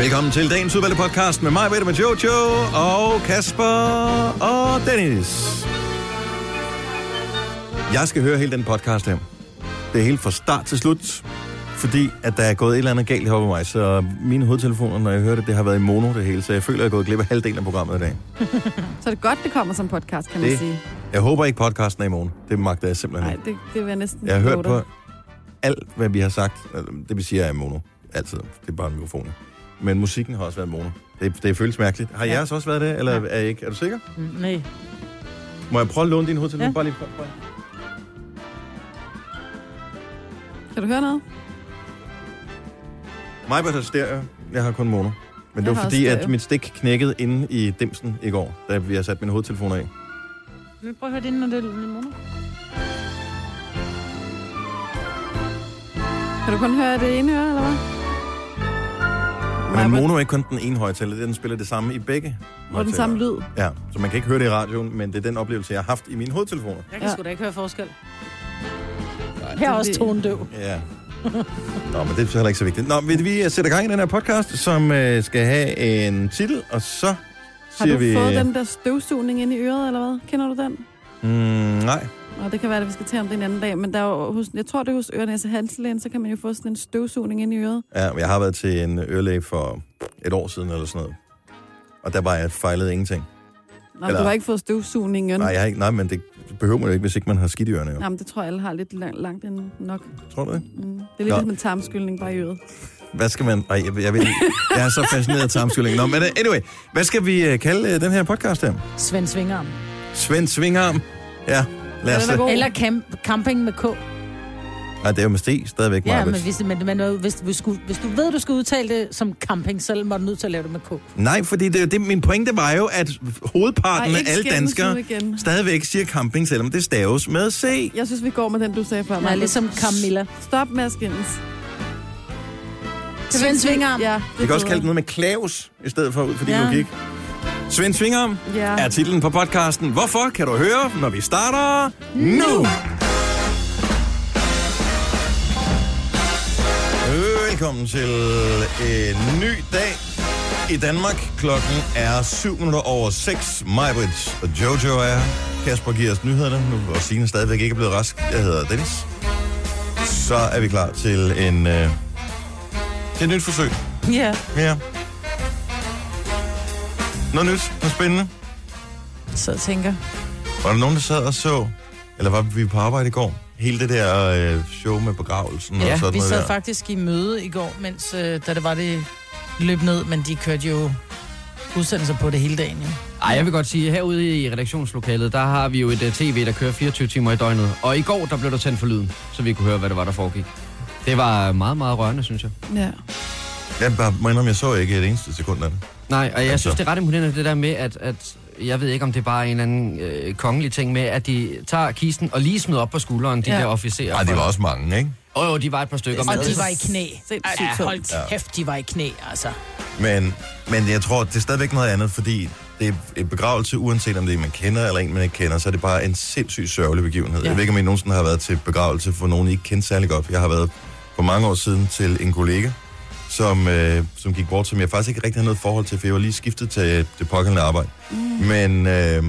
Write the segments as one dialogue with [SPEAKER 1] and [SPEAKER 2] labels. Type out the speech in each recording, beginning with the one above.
[SPEAKER 1] Velkommen til dagens udvalgte podcast med mig, Peter, med Jojo og Kasper og Dennis. Jeg skal høre hele den podcast her. Det er helt fra start til slut, fordi at der er gået et eller andet galt heroppe med mig, så mine hovedtelefoner, når jeg hører det, det har været i mono det hele, så jeg føler, at jeg er gået glip af halvdelen af programmet i dag.
[SPEAKER 2] Så er det godt, det kommer som podcast, kan man
[SPEAKER 1] Det-
[SPEAKER 2] sige.
[SPEAKER 1] Jeg håber ikke, podcasten er i morgen. Det magter jeg simpelthen
[SPEAKER 2] Nej,
[SPEAKER 1] ikke.
[SPEAKER 2] det, det vil jeg næsten
[SPEAKER 1] Jeg har hørt
[SPEAKER 2] love
[SPEAKER 1] på
[SPEAKER 2] dig.
[SPEAKER 1] alt, hvad vi har sagt. Altså, Det vil sige, at jeg er i mono. Altid. Det er bare mikrofonen. Men musikken har også været mono. Det, det føles mærkeligt. Har
[SPEAKER 3] Ja.
[SPEAKER 1] jeres også været det, eller
[SPEAKER 3] Ja.
[SPEAKER 1] er, I ikke? er du sikker?
[SPEAKER 3] Mm, Nej.
[SPEAKER 1] Må jeg prøve at låne din hovedtelefon?
[SPEAKER 3] Ja.
[SPEAKER 1] Bare lige prøv, prøv.
[SPEAKER 2] Kan du høre noget?
[SPEAKER 1] Mig var der stereo. Jeg har kun mono. Men det
[SPEAKER 2] Jeg
[SPEAKER 1] var
[SPEAKER 2] har
[SPEAKER 1] fordi,
[SPEAKER 2] også
[SPEAKER 1] at
[SPEAKER 2] stereo.
[SPEAKER 1] mit stik knækkede inde i dimsen i går, da vi har sat min hovedtelefoner af.
[SPEAKER 3] Vi prøver at høre det inden, når det er i morgen.
[SPEAKER 2] Kan du kun høre det ene øre, eller hvad?
[SPEAKER 1] Men
[SPEAKER 2] Maja,
[SPEAKER 1] mono er ikke kun den ene højtaler, det er, den spiller det samme i begge
[SPEAKER 2] Hvor den samme
[SPEAKER 1] højttalere.
[SPEAKER 2] lyd.
[SPEAKER 1] Ja, så man kan ikke høre det i radioen, men det er den oplevelse, jeg har haft i mine hovedtelefoner.
[SPEAKER 3] Jeg kan
[SPEAKER 2] Ja.
[SPEAKER 3] sgu da ikke høre forskel. Her er også
[SPEAKER 2] det-
[SPEAKER 3] tonedøv.
[SPEAKER 1] Ja. Nå, men det er så heller ikke så vigtigt. Nå, vi, vi sætter gang i den her podcast, som øh, skal have en titel, og så
[SPEAKER 2] Har
[SPEAKER 1] siger
[SPEAKER 2] du
[SPEAKER 1] vi... øh,
[SPEAKER 2] fået den der støvsugning ind i øret, eller hvad? Kender du den?
[SPEAKER 1] Mm, nej.
[SPEAKER 2] Og det kan være, at vi skal tale om det en anden dag, men der er jo, hos, jeg tror, det er hos ørenæse Hanselægen, så kan man jo få sådan en støvsugning ind i øret.
[SPEAKER 1] Ja, men jeg har været til en ørelæge for et år siden eller sådan noget. Og der var jeg fejlede ingenting.
[SPEAKER 2] Nå,
[SPEAKER 1] Eller-
[SPEAKER 2] du har ikke fået støvsugningen.
[SPEAKER 1] Nej, jeg har ikke, nej, men det behøver man jo ikke, hvis ikke man har skidt i ørerne. Jo.
[SPEAKER 2] Nej, men det tror jeg, alle har lidt lang- langt end nok.
[SPEAKER 1] Tror du det?
[SPEAKER 2] Mm. Det er lidt
[SPEAKER 1] Nå.
[SPEAKER 2] ligesom en tarmskyldning bare i øret.
[SPEAKER 1] Hvad skal man... Ej, jeg, jeg, ved, ikke. jeg er så fascineret af tarmskylling. Nå, men øh, anyway, hvad skal vi øh, kalde øh, den her podcast her?
[SPEAKER 3] Svend Svingarm.
[SPEAKER 1] Svend Svingarm? Ja, lad os...
[SPEAKER 2] Den er god.
[SPEAKER 3] Eller camp, camping med K.
[SPEAKER 1] Nej, det er jo med sti stadigvæk,
[SPEAKER 3] Ja,
[SPEAKER 1] Marvitt.
[SPEAKER 3] men, hvis, men, men hvis, hvis, du, hvis du ved, du skal udtale det som camping, så må du nødt til at lave det med K.
[SPEAKER 1] Nej, fordi det, det, min pointe var jo, at hovedparten
[SPEAKER 2] Ej,
[SPEAKER 1] af
[SPEAKER 2] ikke
[SPEAKER 1] Ah, alle
[SPEAKER 2] skændes nu
[SPEAKER 1] danskere
[SPEAKER 2] igen.
[SPEAKER 1] stadigvæk siger camping, selvom det staves med C.
[SPEAKER 2] Jeg synes, vi går med den, du sagde før.
[SPEAKER 3] Nej,
[SPEAKER 2] Maja.
[SPEAKER 3] ligesom Camilla.
[SPEAKER 2] Stop med at skændes.
[SPEAKER 3] Svend Svingarm.
[SPEAKER 2] Ja,
[SPEAKER 1] Vi kan også kalde det noget med Klaus, i stedet for ud for din
[SPEAKER 3] Ja.
[SPEAKER 1] logik. Svend Svingerm
[SPEAKER 2] Ja.
[SPEAKER 1] er titlen på podcasten. Hvorfor kan du høre, når vi starter nu? Velkommen til en ny dag i Danmark. Klokken er 7 minutter over 6. Majbrits og Jojo er her. Kasper giver os nyhederne, nu, og Signe stadigvæk ikke er blevet rask. Jeg hedder Dennis. Så er vi klar til en... Øh, til et nyt forsøg.
[SPEAKER 3] Ja.
[SPEAKER 1] Ja. Noget nyt, noget spændende.
[SPEAKER 3] Så jeg tænker,
[SPEAKER 1] Var der nogen, der sad og så, eller var vi på arbejde i går, hele det der øh, show med begravelsen og
[SPEAKER 3] ja,
[SPEAKER 1] sådan
[SPEAKER 3] vi
[SPEAKER 1] noget
[SPEAKER 3] sad
[SPEAKER 1] der?
[SPEAKER 3] faktisk i møde i går, mens øh, da det var det løb ned, men de kørte jo udsendelser på det hele dagen. Jo.
[SPEAKER 4] Ej, jeg vil godt sige, at herude i redaktionslokalet, der har vi jo et uh, tv, der kører 24 timer i døgnet. Og i går, der blev der tændt for lyden, så vi kunne høre, hvad det var, der foregik. Det var meget, meget rørende, synes jeg.
[SPEAKER 2] Ja.
[SPEAKER 1] Jeg bare må indrømme, jeg så ikke et eneste sekund af det.
[SPEAKER 4] Nej, og jeg
[SPEAKER 1] Altså.
[SPEAKER 4] altså. synes, det er ret imponerende, det der med, at, at jeg ved ikke, om det er bare en eller anden øh, kongelig ting med, at de tager kisten og lige smider op på skulderen, de
[SPEAKER 2] Ja.
[SPEAKER 4] ja. der officerer.
[SPEAKER 1] Ej, det var også mange, ikke?
[SPEAKER 4] Åh, jo, de var et par stykker.
[SPEAKER 3] Og
[SPEAKER 4] men-
[SPEAKER 3] de var i knæ.
[SPEAKER 2] Sindssygt
[SPEAKER 3] Ja,
[SPEAKER 2] tungt.
[SPEAKER 3] hold kæft, de var i knæ, altså.
[SPEAKER 1] Men, men jeg tror, det er stadigvæk noget andet, fordi det er en begravelse, uanset om det er en, man kender eller en, man ikke kender, så er det bare en sindssygt sørgelig begivenhed. Ja.
[SPEAKER 3] Ja.
[SPEAKER 1] Jeg ved ikke, om I nogensinde har været til begravelse for nogen, I ikke kendte særlig godt. Jeg har været for mange år siden til en kollega, som, øh, som gik bort, som jeg faktisk ikke rigtig havde noget forhold til, for jeg var lige skiftet til det pågældende arbejde. Mm. Men øh,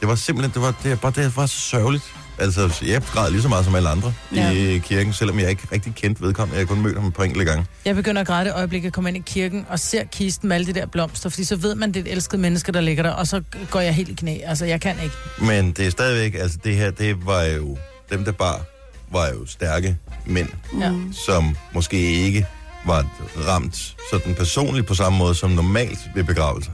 [SPEAKER 1] det var simpelthen, det var, det, var, det var så sørgeligt. Altså, jeg græd lige så meget som alle andre ja.
[SPEAKER 3] Ja.
[SPEAKER 1] i kirken, selvom jeg ikke rigtig kendte vedkommende. Jeg har kun mødt ham et par enkelte gange.
[SPEAKER 3] Jeg begynder at græde det øjeblik, jeg kommer ind i kirken og ser kisten med alle de der blomster, fordi så ved man, det er et elsket menneske, der ligger der, og så går jeg helt i knæ. Altså, jeg kan ikke.
[SPEAKER 1] Men det er stadigvæk, altså det her, det var jo, dem der bar, var jo stærke mænd,
[SPEAKER 3] Ja.
[SPEAKER 2] Mm.
[SPEAKER 1] som måske ikke var ramt sådan personligt på samme måde som normalt ved begravelser.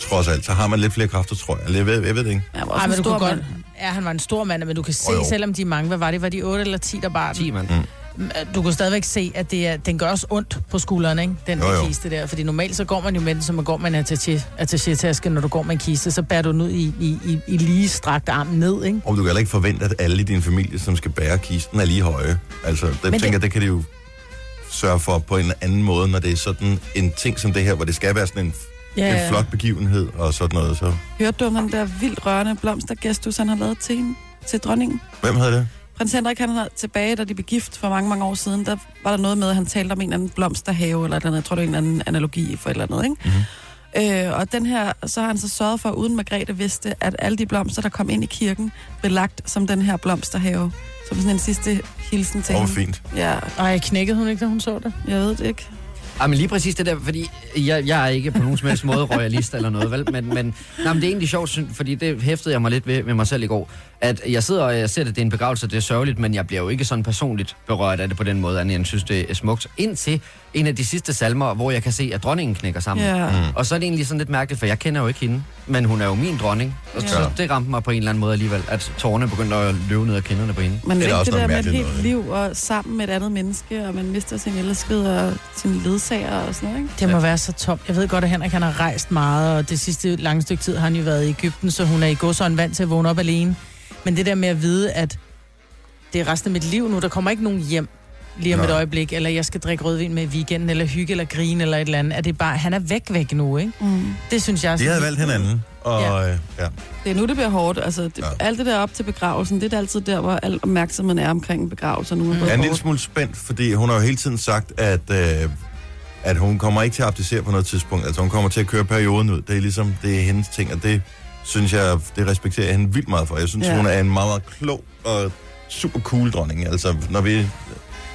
[SPEAKER 1] Trods alt, så har man lidt flere kræfter, tror jeg. Eller Jeg ved, jeg ved det ikke.
[SPEAKER 2] Jeg var også
[SPEAKER 3] Ej,
[SPEAKER 2] Ej,
[SPEAKER 3] men du
[SPEAKER 2] en stor
[SPEAKER 3] kunne
[SPEAKER 2] mand.
[SPEAKER 3] godt... Ja, han var en stor mand, men du kan se,
[SPEAKER 1] Jo, jo.
[SPEAKER 3] selvom de er mange, hvad var det? Var de 8 eller 10, der bar den? Mm, øh,
[SPEAKER 4] Ti, mand.
[SPEAKER 3] Du kan stadigvæk se, at det er, den gør også ondt på skulderen, ikke? Den
[SPEAKER 1] Jo,
[SPEAKER 3] jo,
[SPEAKER 1] jo.
[SPEAKER 3] jo. kiste der. Fordi normalt så går man jo med den, som man går med en attaché, attaché-taske, når du går med en kiste, så bærer du den ud i, i, i, i lige strakt armen ned, ikke?
[SPEAKER 1] Og du kan heller ikke forvente, at alle i din familie, som skal bære kisten, er lige høje. Altså, det, jeg
[SPEAKER 3] det-
[SPEAKER 1] tænker, det... det kan de jo sørge for på en anden måde, når det er sådan en ting som det her, hvor det skal være sådan en, ja. en flot begivenhed og sådan noget. Så.
[SPEAKER 2] Hørte du om den der vildt rørende blomstergestus, han har lavet til hende? Til dronningen?
[SPEAKER 1] Hvem havde det?
[SPEAKER 2] Prins Henrik, han er tilbage, da de blev gift for mange, mange år siden, der var der noget med, at han talte om en eller anden blomsterhave, eller et eller andet. jeg tror, det er en eller anden analogi for et eller andet, ikke?
[SPEAKER 1] Mhm.
[SPEAKER 2] Mm-hmm. Øh, og den her, så har han så sørget for, uden Margrethe vidste, at alle de blomster, der kom ind i kirken, blev lagt som den her blomsterhave. Som sådan en sidste hilsen til
[SPEAKER 1] Åh, hvor
[SPEAKER 2] hende.
[SPEAKER 1] fint.
[SPEAKER 2] Ja,
[SPEAKER 3] Ej, knækkede hun ikke, da hun så det?
[SPEAKER 2] jeg ved det ikke.
[SPEAKER 4] Ja, Ah, men lige præcis det der, fordi jeg, jeg er ikke på nogen som helst måde royalist eller noget, vel? Men, men, nej, men det er egentlig sjovt, syn- fordi det hæftede jeg mig lidt ved med mig selv i går, at jeg sidder og jeg ser, at det er en begravelse, det er sørgeligt, men jeg bliver jo ikke sådan personligt berørt af det på den måde, andet end jeg synes, det er smukt. Indtil en af de sidste salmer, hvor jeg kan se, at dronningen knækker sammen.
[SPEAKER 2] Ja. Mm.
[SPEAKER 4] Og så er det egentlig sådan lidt mærkeligt, for jeg kender jo ikke hende, men hun er jo min dronning. Og
[SPEAKER 2] Ja.
[SPEAKER 4] ja. så det ramte mig på en eller anden måde alligevel, at tårerne begyndte at løbe ned af kinderne på hende.
[SPEAKER 1] Det
[SPEAKER 2] Men
[SPEAKER 1] er
[SPEAKER 2] det,
[SPEAKER 1] da
[SPEAKER 2] ikke
[SPEAKER 1] også
[SPEAKER 2] det der
[SPEAKER 1] noget
[SPEAKER 2] med et
[SPEAKER 1] mærkeligt
[SPEAKER 2] helt liv og sammen med et andet menneske, og man mister sin elskede og sin ledsager og sådan noget, ikke?
[SPEAKER 3] Det må være så tomt. Jeg ved godt, at Henrik han har rejst meget, og det sidste lange stykke tid har han jo været i Ægypten, så hun er i godsøjne vant til at vågne op alene. Men det der med at vide, at det er resten af mit liv nu, der kommer ikke nogen hjem lige om
[SPEAKER 1] Nej.
[SPEAKER 3] et øjeblik, eller jeg skal drikke rødvin med i weekenden, eller hygge, eller grine, eller et eller andet. At det er bare, han er væk væk nu, ikke?
[SPEAKER 2] Mm.
[SPEAKER 3] Det synes jeg...
[SPEAKER 1] De havde
[SPEAKER 3] sådan-
[SPEAKER 1] valgt hinanden, og Altså- ja. ja.
[SPEAKER 2] Det er nu, det bliver hårdt. Altså, det,
[SPEAKER 1] Ja.
[SPEAKER 2] ja. alt det der op til begravelsen, det er altid der, hvor al opmærksomheden er omkring en begravelse. Nu er
[SPEAKER 1] Jeg er en
[SPEAKER 2] mm.
[SPEAKER 1] lille smule spændt, fordi hun har jo hele tiden sagt, at, øh, at hun kommer ikke til at abdicere på noget tidspunkt. Altså hun kommer til at køre perioden ud. Det er ligesom, det er hendes ting, og det synes jeg, det respekterer jeg hende vildt meget for. Jeg synes, ja.
[SPEAKER 2] Ja.
[SPEAKER 1] hun er en meget, meget klog og super cool dronning. Altså, når vi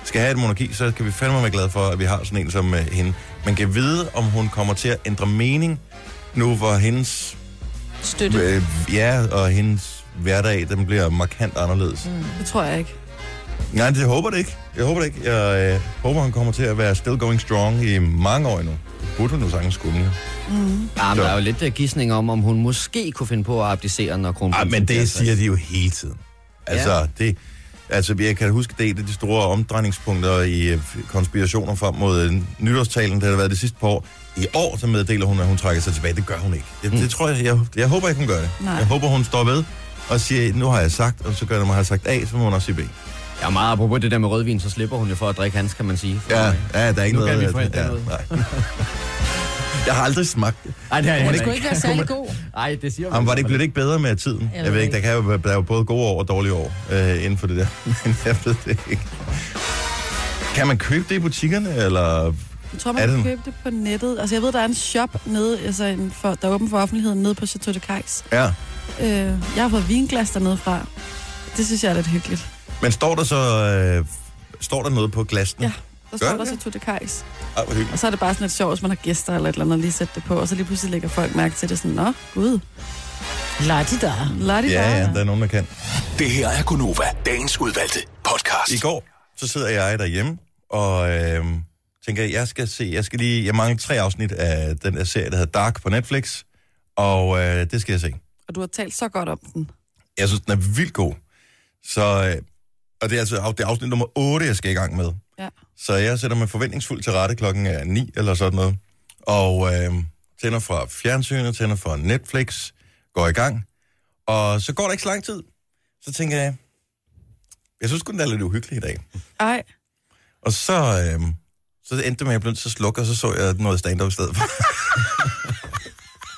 [SPEAKER 1] skal have et monarki, så kan vi fandme være glade for, at vi har sådan en som øh, hende. Man kan vide, om hun kommer til at ændre mening nu, hvor hendes
[SPEAKER 3] Støtte.
[SPEAKER 1] øh, ja, og hendes hverdag, den bliver markant anderledes. Mm.
[SPEAKER 2] Det tror jeg ikke.
[SPEAKER 1] Nej, det jeg håber det ikke. Jeg håber det ikke. Jeg øh, håber, han kommer til at være still going strong i mange år endnu. Det Burde hun jo sagtens kunne. ja.
[SPEAKER 4] Ja, men
[SPEAKER 1] Så-
[SPEAKER 4] der er jo lidt øh, gisning om, om hun måske kunne finde på at abdicere, når kronprinsen...
[SPEAKER 1] Ej, Ah, men
[SPEAKER 4] bliver
[SPEAKER 1] det
[SPEAKER 4] sig.
[SPEAKER 1] siger de jo hele tiden. Altså, ja.
[SPEAKER 4] Ja.
[SPEAKER 1] det, altså jeg kan huske, det er et af de store omdrejningspunkter i øh, konspirationer frem mod øh, nytårstalen, det har der været det sidste par år. I år, så meddeler hun, at hun trækker sig tilbage. Det gør hun ikke. Det, mm. det tror jeg, jeg, jeg håber ikke, hun gør det.
[SPEAKER 2] Nej.
[SPEAKER 1] Jeg håber, hun står ved og siger, nu har jeg sagt, og så gør det mig, har sagt A, så må hun også sige B.
[SPEAKER 4] Ja, meget apropos det der med rødvin, så slipper hun jo for at drikke hans, kan man sige.
[SPEAKER 1] Ja, ja der er ikke
[SPEAKER 4] Nu kan
[SPEAKER 1] noget...
[SPEAKER 4] vi få alt
[SPEAKER 1] ja,
[SPEAKER 4] andet.
[SPEAKER 1] nej. jeg har aldrig smagt det.
[SPEAKER 4] Ej, det er
[SPEAKER 3] Hun
[SPEAKER 4] jeg
[SPEAKER 3] skulle ikke være særlig god.
[SPEAKER 4] Ej, det siger man.
[SPEAKER 1] Jamen, var det ikke,
[SPEAKER 4] ikke
[SPEAKER 1] blev det ikke bedre med tiden? Jeg,
[SPEAKER 3] Jeg
[SPEAKER 1] jeg ved
[SPEAKER 3] ved
[SPEAKER 1] ikke, der, kan jo, være- der er jo både gode år og dårlige år øh, inden for det der, men jeg ved det ikke. Kan man købe det i butikkerne, eller...
[SPEAKER 2] Jeg tror,
[SPEAKER 1] Er
[SPEAKER 2] man
[SPEAKER 1] det
[SPEAKER 2] kan
[SPEAKER 1] den?
[SPEAKER 2] købe det på nettet. Altså, jeg ved, der er en shop nede, altså, en for, der er åben for offentligheden nede på Chateau de Kajs.
[SPEAKER 1] Ja.
[SPEAKER 2] Øh, jeg har fået vinglas dernede fra. Det synes jeg er lidt hyggeligt.
[SPEAKER 1] Men står der så... Øh, står der noget på glasene?
[SPEAKER 2] Ja.
[SPEAKER 1] Gør
[SPEAKER 2] Der står der
[SPEAKER 1] det?
[SPEAKER 2] Chateau de Kajs.
[SPEAKER 1] Ej, hvor hyggeligt.
[SPEAKER 2] Og så er det bare sådan lidt sjovt, hvis man har gæster eller et eller andet, og lige sætte det på. Og så lige pludselig lægger folk mærke til det sådan, Nå, gud,
[SPEAKER 3] La de da.
[SPEAKER 2] lad det
[SPEAKER 1] Ja, ja, der er nogen, der kan.
[SPEAKER 5] Det her er Gonova, dagens udvalgte podcast.
[SPEAKER 1] I går, så sidder jeg derhjemme, og øh, tænker, jeg skal se, jeg skal lige, jeg mangler tre afsnit af den der serie, der hedder Dark på Netflix, og øh, det skal jeg se.
[SPEAKER 2] Og du har talt så godt om den.
[SPEAKER 1] Jeg synes, den er vildt god. Så, øh, og det er altså af- det er afsnit nummer 8, jeg skal i gang med.
[SPEAKER 2] Ja.
[SPEAKER 1] Så jeg sætter mig forventningsfuldt til rette klokken er 9 eller sådan noget. Og øh, tænder fra fjernsynet, tænder fra Netflix, går i gang. Og så går der ikke så lang tid. Så tænker jeg, jeg synes sgu, den er lidt uhyggelig i dag.
[SPEAKER 2] Ej,
[SPEAKER 1] Og så, øh, så endte det med, at jeg blev nødt til at slukke, og så så jeg noget stand-up i stedet for.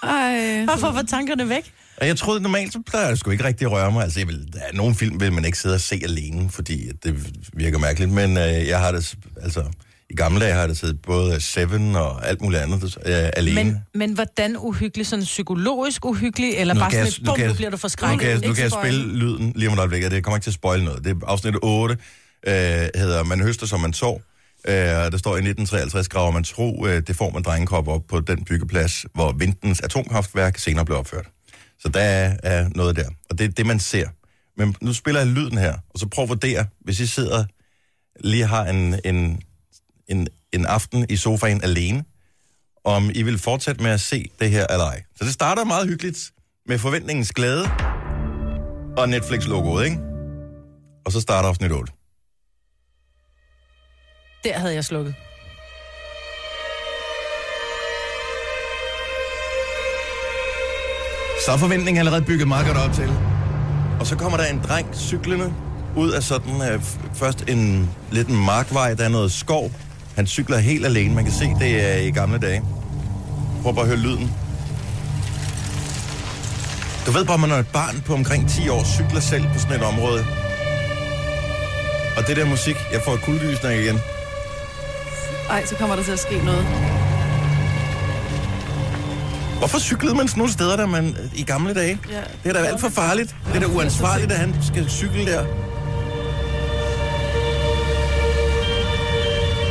[SPEAKER 2] ej.
[SPEAKER 3] Bare for
[SPEAKER 1] Mm.
[SPEAKER 3] at få tankerne væk.
[SPEAKER 1] Og jeg troede normalt, så plejer jeg sgu ikke rigtig at røre mig. Altså, jeg vil, der er nogle film vil man ikke sidde og se alene, fordi at det virker mærkeligt. Men øh, jeg har det, s- altså, i gamle dage har jeg det siddet både Seven og alt muligt andet øh, alene.
[SPEAKER 3] Men, men hvordan uhyggelig? Sådan psykologisk uhyggelig? Eller
[SPEAKER 1] Nu
[SPEAKER 3] bare
[SPEAKER 1] kan jeg-
[SPEAKER 3] sådan et
[SPEAKER 1] nu kan
[SPEAKER 3] bum,
[SPEAKER 1] jeg-
[SPEAKER 3] nu bliver du
[SPEAKER 1] nu
[SPEAKER 3] forskrækket?
[SPEAKER 1] kan jeg, nu
[SPEAKER 2] Ikke
[SPEAKER 1] kan jeg
[SPEAKER 2] spoil.
[SPEAKER 1] spille lyden lige om et øjeblik, og det kommer ikke til at spoil noget. Det er afsnit 8, øh, hedder Man høster, som man sår. Øh, og der står i 1953, graver man tro, øh, det får man drengekrop op på den byggeplads, hvor Vintens atomkraftværk senere blev opført. Så der er, er noget der, og det er det, man ser. Men nu spiller jeg lyden her, og så prøv at vurdere, hvis I sidder lige har en, en, en, en aften i sofaen alene, om I vil fortsætte med at se det her eller ej. Så det starter meget hyggeligt med forventningens glæde og Netflix-logoet, ikke? Og så starter afsnit 8.
[SPEAKER 3] Der havde jeg slukket.
[SPEAKER 1] Så er forventningen allerede bygget meget godt op til. Og så kommer der en dreng cyklende ud af sådan uh, først en lidt en markvej, der er noget skov. Han cykler helt alene. Man kan se, det er i gamle dage. Prøv bare at høre lyden. Du ved bare, man når et barn på omkring 10 år cykler selv på sådan et område. Og det der musik, jeg får kuldegysninger igen.
[SPEAKER 2] Ej, så kommer der til at ske noget.
[SPEAKER 1] Hvorfor cyklede man sådan nogle steder, der man øh, i gamle dage?
[SPEAKER 2] Ja.
[SPEAKER 1] Det er da alt for farligt. Det er da uansvarligt, at han skal cykle der.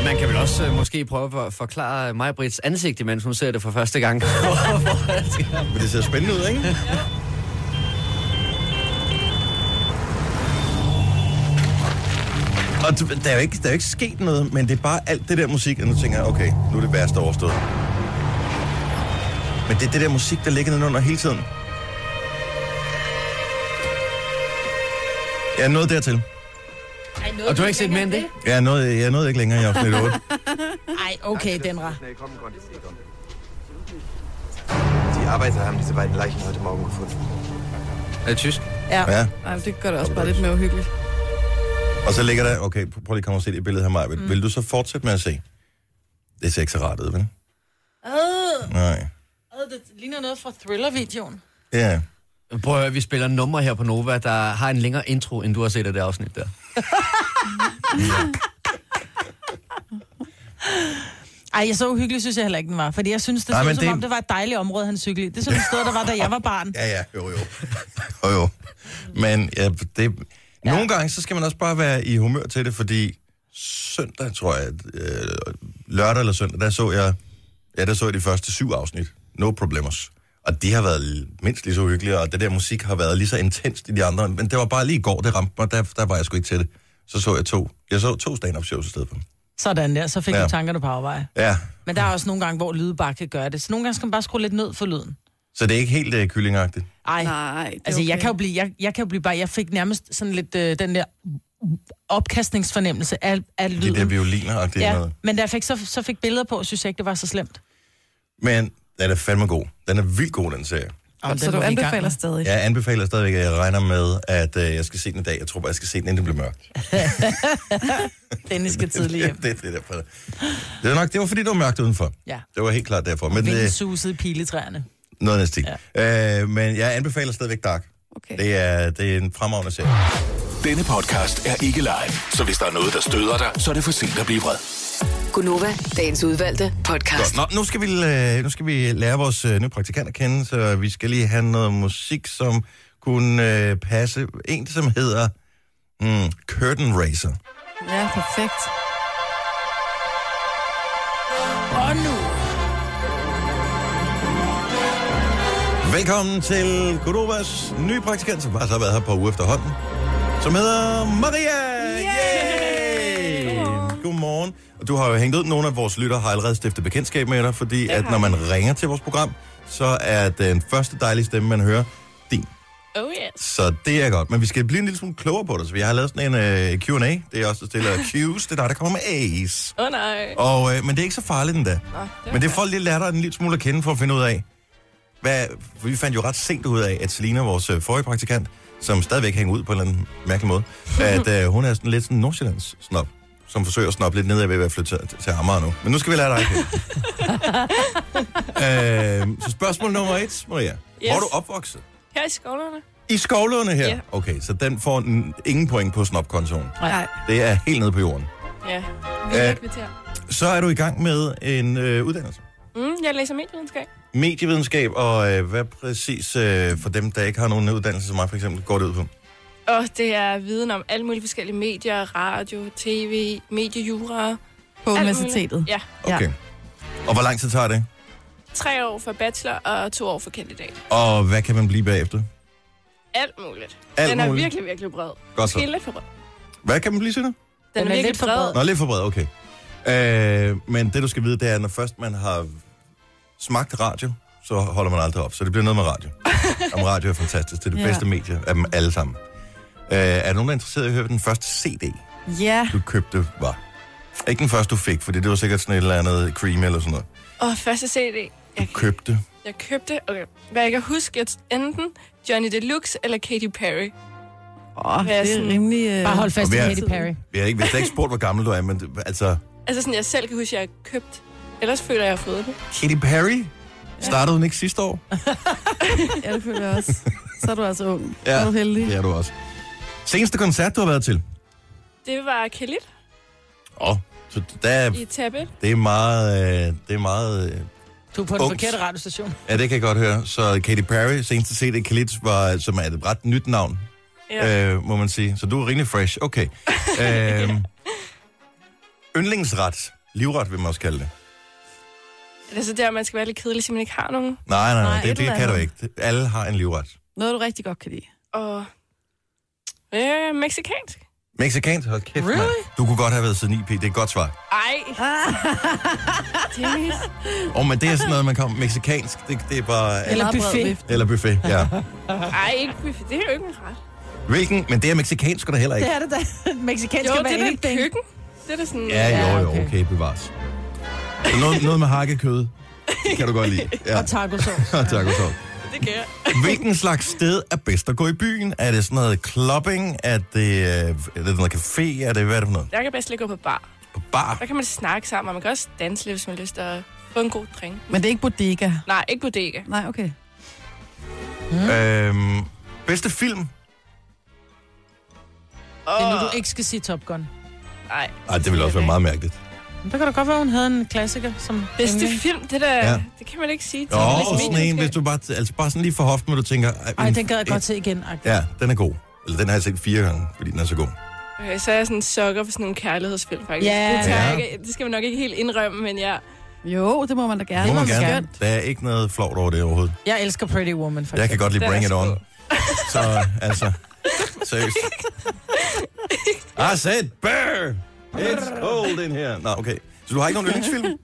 [SPEAKER 4] Man kan vel også øh, måske prøve at forklare Majbrits ansigt, imens hun ser det for første gang.
[SPEAKER 1] Men det ser spændende ud, ikke? Og du- der er, jo ikke, der er jo ikke sket noget, men det er bare alt det der musik, og nu tænker jeg, okay, nu er det værste overstået. Men det er det der musik, der ligger nedenunder hele tiden. Jeg er nået dertil.
[SPEAKER 4] Og du har ikke set mere end det?
[SPEAKER 1] Jeg er nået, jeg er nået ikke længere i afsnit 8.
[SPEAKER 3] Ej, okay, Denra.
[SPEAKER 6] Die Arbeiter haben diese beiden Leichen heute Morgen gefunden.
[SPEAKER 4] Er det tysk?
[SPEAKER 3] Ja.
[SPEAKER 1] Ja.
[SPEAKER 2] Ej, men det gør det også bare lidt mere uhyggeligt.
[SPEAKER 1] Og så ligger der, okay, prøv lige at komme og se det billede her, Maja. Mm. Vil du så fortsætte med at se? Det ser ikke så rart ud, vel?
[SPEAKER 3] Øh,
[SPEAKER 1] Nej.
[SPEAKER 3] øh, det ligner noget fra Thriller-videoen.
[SPEAKER 1] Ja. Yeah.
[SPEAKER 4] Prøv at høre, vi spiller nummer her på Nova, der har en længere intro, end du har set af det afsnit der.
[SPEAKER 3] Ej, jeg så uhyggelig, synes jeg heller ikke, den var. Fordi jeg synes, det
[SPEAKER 1] Nej,
[SPEAKER 3] Nej, så
[SPEAKER 1] men
[SPEAKER 3] ud, som
[SPEAKER 1] det-
[SPEAKER 3] det... om, det var et dejligt område, han cyklede i. Det synes jeg stod, der var, da jeg var barn.
[SPEAKER 1] Ja, ja, jo, jo. jo, jo. Men ja, det, ja. nogle gange, så skal man også bare være i humør til det, fordi søndag, tror jeg, øh, lørdag eller søndag, der så jeg, ja, der så jeg de første syv afsnit. No Problemers. Og de har været mindst lige så hyggelige, og det der musik har været lige så intenst i de andre. Men det var bare lige i går, det ramte mig, der, der var jeg sgu ikke til det. Så så jeg to. Jeg så to stand-up shows i stedet for.
[SPEAKER 3] Sådan der, så fik
[SPEAKER 1] Ja.
[SPEAKER 3] ja. du tankerne på afveje.
[SPEAKER 1] Ja,
[SPEAKER 3] Men der er også nogle gange, hvor lyde bare kan gøre det. Så nogle gange skal man bare skrue lidt ned for lyden.
[SPEAKER 1] så det er ikke helt øh, kyllingagtigt.
[SPEAKER 3] Ej,
[SPEAKER 2] Nej, det er
[SPEAKER 3] altså
[SPEAKER 2] okay.
[SPEAKER 3] jeg kan jo blive, jeg, jeg kan jo blive bare, jeg fik nærmest sådan lidt øh, den der opkastningsfornemmelse af, af lyden.
[SPEAKER 1] Det der violiner-agtigt ja.
[SPEAKER 3] ja,
[SPEAKER 1] noget.
[SPEAKER 3] men da jeg fik, så, så fik billeder på, synes jeg ikke, det var så slemt.
[SPEAKER 1] Men den er fandme god. Den er vildt god, den serie.
[SPEAKER 3] Om
[SPEAKER 2] Så du anbefaler stadig.
[SPEAKER 1] Jeg anbefaler stadigvæk, at jeg regner med, at øh, jeg skal se den i dag. Jeg tror bare, jeg skal se den, inden det bliver mørkt.
[SPEAKER 3] Dennis skal tidligt hjem.
[SPEAKER 1] det, det, er derfor. det var nok, det var fordi, det var mørkt udenfor.
[SPEAKER 3] Ja.
[SPEAKER 1] Det var helt klart derfor. Men
[SPEAKER 3] Vinden
[SPEAKER 1] øh,
[SPEAKER 3] susede i piletræerne.
[SPEAKER 1] noget næste ja. øh, Men jeg anbefaler stadigvæk Dark.
[SPEAKER 2] Okay.
[SPEAKER 1] Det er, det er en fremragende serie.
[SPEAKER 5] Denne podcast er ikke live, så hvis der er noget, der støder dig, så er det for sent at blive vred.
[SPEAKER 7] Gunova, dagens udvalgte podcast.
[SPEAKER 1] Godt. Nå, nu skal, vi, øh, nu skal vi lære vores øh, nye praktikant at kende, så vi skal lige have noget musik, som kunne øh, passe. En, som hedder mm, Curtain Racer.
[SPEAKER 2] Ja, perfekt.
[SPEAKER 3] Og nu...
[SPEAKER 1] Velkommen til Godovas nye praktikant, som faktisk har været her på uge efterhånden, som hedder Maria! Yay! Godmorgen. Godmorgen. Og du har jo hængt ud, nogle af vores lytter har allerede stiftet bekendtskab med dig, fordi at når man ringer til vores program, så er den første dejlige stemme, man hører, din.
[SPEAKER 8] Oh yes.
[SPEAKER 1] Så det er godt. Men vi skal blive en lille smule klogere på det, så vi har lavet sådan en øh, Q&A. Det er også der stiller Q's, det er dig, der kommer med A's.
[SPEAKER 8] Åh oh, nej.
[SPEAKER 1] Og, øh, men det er ikke så farligt endda. Men det får lige lært dig en lille smule at kende for at finde ud af, hvad, for vi fandt jo ret sent ud af, at Selina, vores øh, forrige praktikant, som stadigvæk hænger ud på en eller anden mærkelig måde, at øh, hun er sådan lidt sådan en Nordsjællands snop, som forsøger at snoppe lidt nedad ved at være flyttet til, til Amager nu. Men nu skal vi lære dig at kende. øh, så spørgsmål nummer et, Maria. Yes. Hvor er
[SPEAKER 8] Yes.
[SPEAKER 1] du opvokset?
[SPEAKER 8] Her i skovlerne.
[SPEAKER 1] I skovlerne her?
[SPEAKER 8] Ja.
[SPEAKER 1] Okay, så den får n- ingen point på snopkontoen.
[SPEAKER 2] Nej.
[SPEAKER 1] Det er helt nede på jorden.
[SPEAKER 8] Ja.
[SPEAKER 1] Øh.
[SPEAKER 8] Vi kvarter.
[SPEAKER 1] Så er du i gang med en øh, uddannelse.
[SPEAKER 8] Mm, jeg læser medievidenskab.
[SPEAKER 1] medievidenskab, og øh, hvad præcis øh, for dem, der ikke har nogen uddannelse som mig, for eksempel, går det ud på?
[SPEAKER 8] Og det er viden om alle mulige forskellige medier, radio, tv, mediejura.
[SPEAKER 2] På universitetet.
[SPEAKER 8] Ja.
[SPEAKER 1] Okay. Ja. Og hvor lang tid tager det?
[SPEAKER 8] Tre år for bachelor og to år for kandidat.
[SPEAKER 1] Og hvad kan man blive bagefter?
[SPEAKER 8] Alt muligt.
[SPEAKER 1] Alt
[SPEAKER 8] Den er
[SPEAKER 1] muligt.
[SPEAKER 8] virkelig, virkelig bred.
[SPEAKER 1] Godt
[SPEAKER 8] Måske
[SPEAKER 1] så.
[SPEAKER 8] lidt for bred. Den,
[SPEAKER 1] Hvad kan man blive, siger du?
[SPEAKER 8] Den er,
[SPEAKER 3] er
[SPEAKER 8] virkelig
[SPEAKER 3] lidt for
[SPEAKER 8] bred.
[SPEAKER 1] Nå, lidt for bred, okay. Øh, men det, du skal vide, det er, at når først man har smagt radio, så holder man aldrig op. Så det bliver noget med radio. Om radio er fantastisk. Det er det
[SPEAKER 2] Ja.
[SPEAKER 1] bedste medie af dem alle sammen. Øh, er der nogen, der er interesseret i at høre, hvad den første CD,
[SPEAKER 2] Ja.
[SPEAKER 1] du købte, var? Ikke den første, du fik, for det var sikkert sådan et eller andet cream eller sådan noget.
[SPEAKER 8] Og første CD.
[SPEAKER 1] Du
[SPEAKER 8] Jeg,
[SPEAKER 1] købte
[SPEAKER 8] jeg købte, okay. hvad jeg kan huske, at enten Johnny Deluxe eller Katy Perry.
[SPEAKER 2] Åh, det er rimelig... Øh...
[SPEAKER 3] Bare hold fast
[SPEAKER 1] Og
[SPEAKER 3] i
[SPEAKER 1] vi er-
[SPEAKER 3] Katy Perry.
[SPEAKER 1] Vi har ikke, vi har slet ikke spurgt, hvor gammel du er, men det- altså,
[SPEAKER 8] Altså sådan, jeg selv kan huske, at jeg har købt. Ellers føler jeg, at jeg har fået det.
[SPEAKER 1] Katy Perry startede hun ikke sidste år?
[SPEAKER 2] Ja, det føler jeg også. Så er du altså ung.
[SPEAKER 1] Ja.
[SPEAKER 2] Ja. Så er du heldig.
[SPEAKER 1] Det er du også. Seneste koncert, du har været til?
[SPEAKER 8] Det var Khalid
[SPEAKER 1] Åh, oh, så der,
[SPEAKER 8] i Tabet.
[SPEAKER 1] det er meget... Øh, det er meget øh,
[SPEAKER 3] Du er på den
[SPEAKER 1] Ups.
[SPEAKER 3] forkerte radiostation.
[SPEAKER 1] ja, det kan jeg godt høre. Så Katy Perry, seneste set i Khalid, var, som er et ret nyt navn,
[SPEAKER 8] Ja.
[SPEAKER 1] ja. øh, må man sige. Så du er rimelig fresh. Okay. Øhm, yndlingsret. Livret, vil man også kalde det.
[SPEAKER 8] Altså, Det er så der, man skal være lidt kedelig, så man ikke har nogen.
[SPEAKER 1] Nej, nej, nej,
[SPEAKER 2] Nej,
[SPEAKER 1] nej det,
[SPEAKER 2] et
[SPEAKER 1] det
[SPEAKER 2] eller
[SPEAKER 1] kan du
[SPEAKER 2] andet.
[SPEAKER 1] ikke. Alle har en livret.
[SPEAKER 2] Noget, du rigtig godt kan lide.
[SPEAKER 8] Og øh, mexikansk.
[SPEAKER 1] Mexikansk, hold kæft, mand.
[SPEAKER 3] Really?
[SPEAKER 1] Du kunne godt have været siden IP, det er et godt svar.
[SPEAKER 8] Ej. Dennis.
[SPEAKER 1] Åh, oh, men det er sådan noget, man kommer... Mexikansk, det, det er bare...
[SPEAKER 3] Eller
[SPEAKER 2] Meget bred
[SPEAKER 3] buffet.
[SPEAKER 2] vift.
[SPEAKER 1] Eller buffet, ja.
[SPEAKER 8] Ej, ikke buffet. Det er jo ikke en ret.
[SPEAKER 1] Hvilken? Men det er mexikansk sgu da heller ikke.
[SPEAKER 3] Det er det da. Mexikansk
[SPEAKER 8] Jo,
[SPEAKER 3] skal
[SPEAKER 8] det
[SPEAKER 3] være
[SPEAKER 8] er da et
[SPEAKER 3] anything.
[SPEAKER 8] køkken. Det er da sådan...
[SPEAKER 1] Ja, jo,
[SPEAKER 3] Ja,
[SPEAKER 1] jo,
[SPEAKER 3] okay.
[SPEAKER 1] okay, bevares. Noget, noget med hakket kød. Det kan du godt lide. Ja.
[SPEAKER 3] Og tacosauce.
[SPEAKER 1] Og tacosauce.
[SPEAKER 8] Det gør jeg.
[SPEAKER 1] Hvilken slags sted er bedst at gå i byen? Er det sådan noget clubbing? Er det, øh, er det noget café? Er det, hvad er det for noget?
[SPEAKER 8] Jeg kan bedst lige gå på bar.
[SPEAKER 1] På bar?
[SPEAKER 8] Der kan man snakke sammen, og man kan også danse lidt, hvis man har lyst til at få en god drink.
[SPEAKER 2] Men det er ikke bodega.
[SPEAKER 8] Nej, ikke bodega.
[SPEAKER 2] Nej, okay.
[SPEAKER 1] Øhm, bedste film?
[SPEAKER 8] Og...
[SPEAKER 3] Det er nu, du ikke skal sige Top Gun.
[SPEAKER 8] Nej.
[SPEAKER 1] Ej, det ville også være meget mærkeligt.
[SPEAKER 3] Men der kan da godt være, hun havde en klassiker som...
[SPEAKER 8] Bedste
[SPEAKER 3] yndling.
[SPEAKER 8] film, det der...
[SPEAKER 1] Ja.
[SPEAKER 8] Ja. Det kan man ikke sige til.
[SPEAKER 1] Nå,
[SPEAKER 8] Det er
[SPEAKER 1] og
[SPEAKER 8] ligesom
[SPEAKER 1] sådan en,
[SPEAKER 8] medievidenskab.
[SPEAKER 1] hvis du bare, altså bare sådan lige for hoften, hvor du tænker...
[SPEAKER 3] Ej,
[SPEAKER 1] men-
[SPEAKER 3] den gad jeg godt se igen. Ja.
[SPEAKER 1] Ja, den er god. Eller den har jeg set fire gange, fordi den er så god.
[SPEAKER 8] Okay, Øh, så er jeg sådan en sokker for sådan nogle kærlighedsfilm, faktisk.
[SPEAKER 3] Ja.
[SPEAKER 8] Det, tager jeg
[SPEAKER 1] Ja.
[SPEAKER 8] ikke, det skal man nok ikke helt indrømme, men jeg...
[SPEAKER 2] Jo, det må man da gerne.
[SPEAKER 1] Må man
[SPEAKER 2] Det var
[SPEAKER 1] gerne.
[SPEAKER 2] skønt.
[SPEAKER 1] Der er ikke noget flot over det overhovedet.
[SPEAKER 3] Jeg elsker Pretty Woman, for
[SPEAKER 1] Jeg kan
[SPEAKER 3] eksempel.
[SPEAKER 1] godt lide
[SPEAKER 8] Den er
[SPEAKER 1] Bring It On.
[SPEAKER 8] sgu.
[SPEAKER 1] Så altså, seriøst. Ah, I said bear! It's cold in here. Nå, okay. Så du har ikke nogen yndlingsfilm?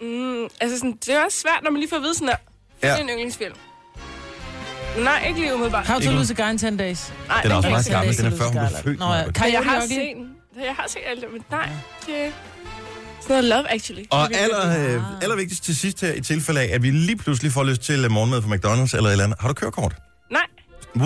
[SPEAKER 8] Mm, altså, sådan, det er også svært, når man lige får at vide sådan, at det
[SPEAKER 1] Ja.
[SPEAKER 8] er en yndlingsfilm. Nej, ikke lige umiddelbart.
[SPEAKER 3] How to
[SPEAKER 1] Ikke
[SPEAKER 3] Lose a Guy in 10 Days.
[SPEAKER 8] Nej,
[SPEAKER 1] Den er også
[SPEAKER 8] kan jeg
[SPEAKER 1] meget
[SPEAKER 8] ikke se.
[SPEAKER 1] gammel. Den er før hun blev
[SPEAKER 3] Scarlett.
[SPEAKER 1] født.
[SPEAKER 3] Nå,
[SPEAKER 1] Maja.
[SPEAKER 3] Coyote
[SPEAKER 8] Jeg har
[SPEAKER 3] Ugly.
[SPEAKER 8] set den. Jeg har set alt det, men nej. Det er sådan noget Love Actually.
[SPEAKER 1] Og
[SPEAKER 8] Det er virkelig-
[SPEAKER 1] aller, øh, allervigtigst til sidst her, i tilfælde af, at vi lige pludselig får lyst til øh, morgenmad fra McDonald's eller et eller andet. Har du kørekort?
[SPEAKER 8] Nej,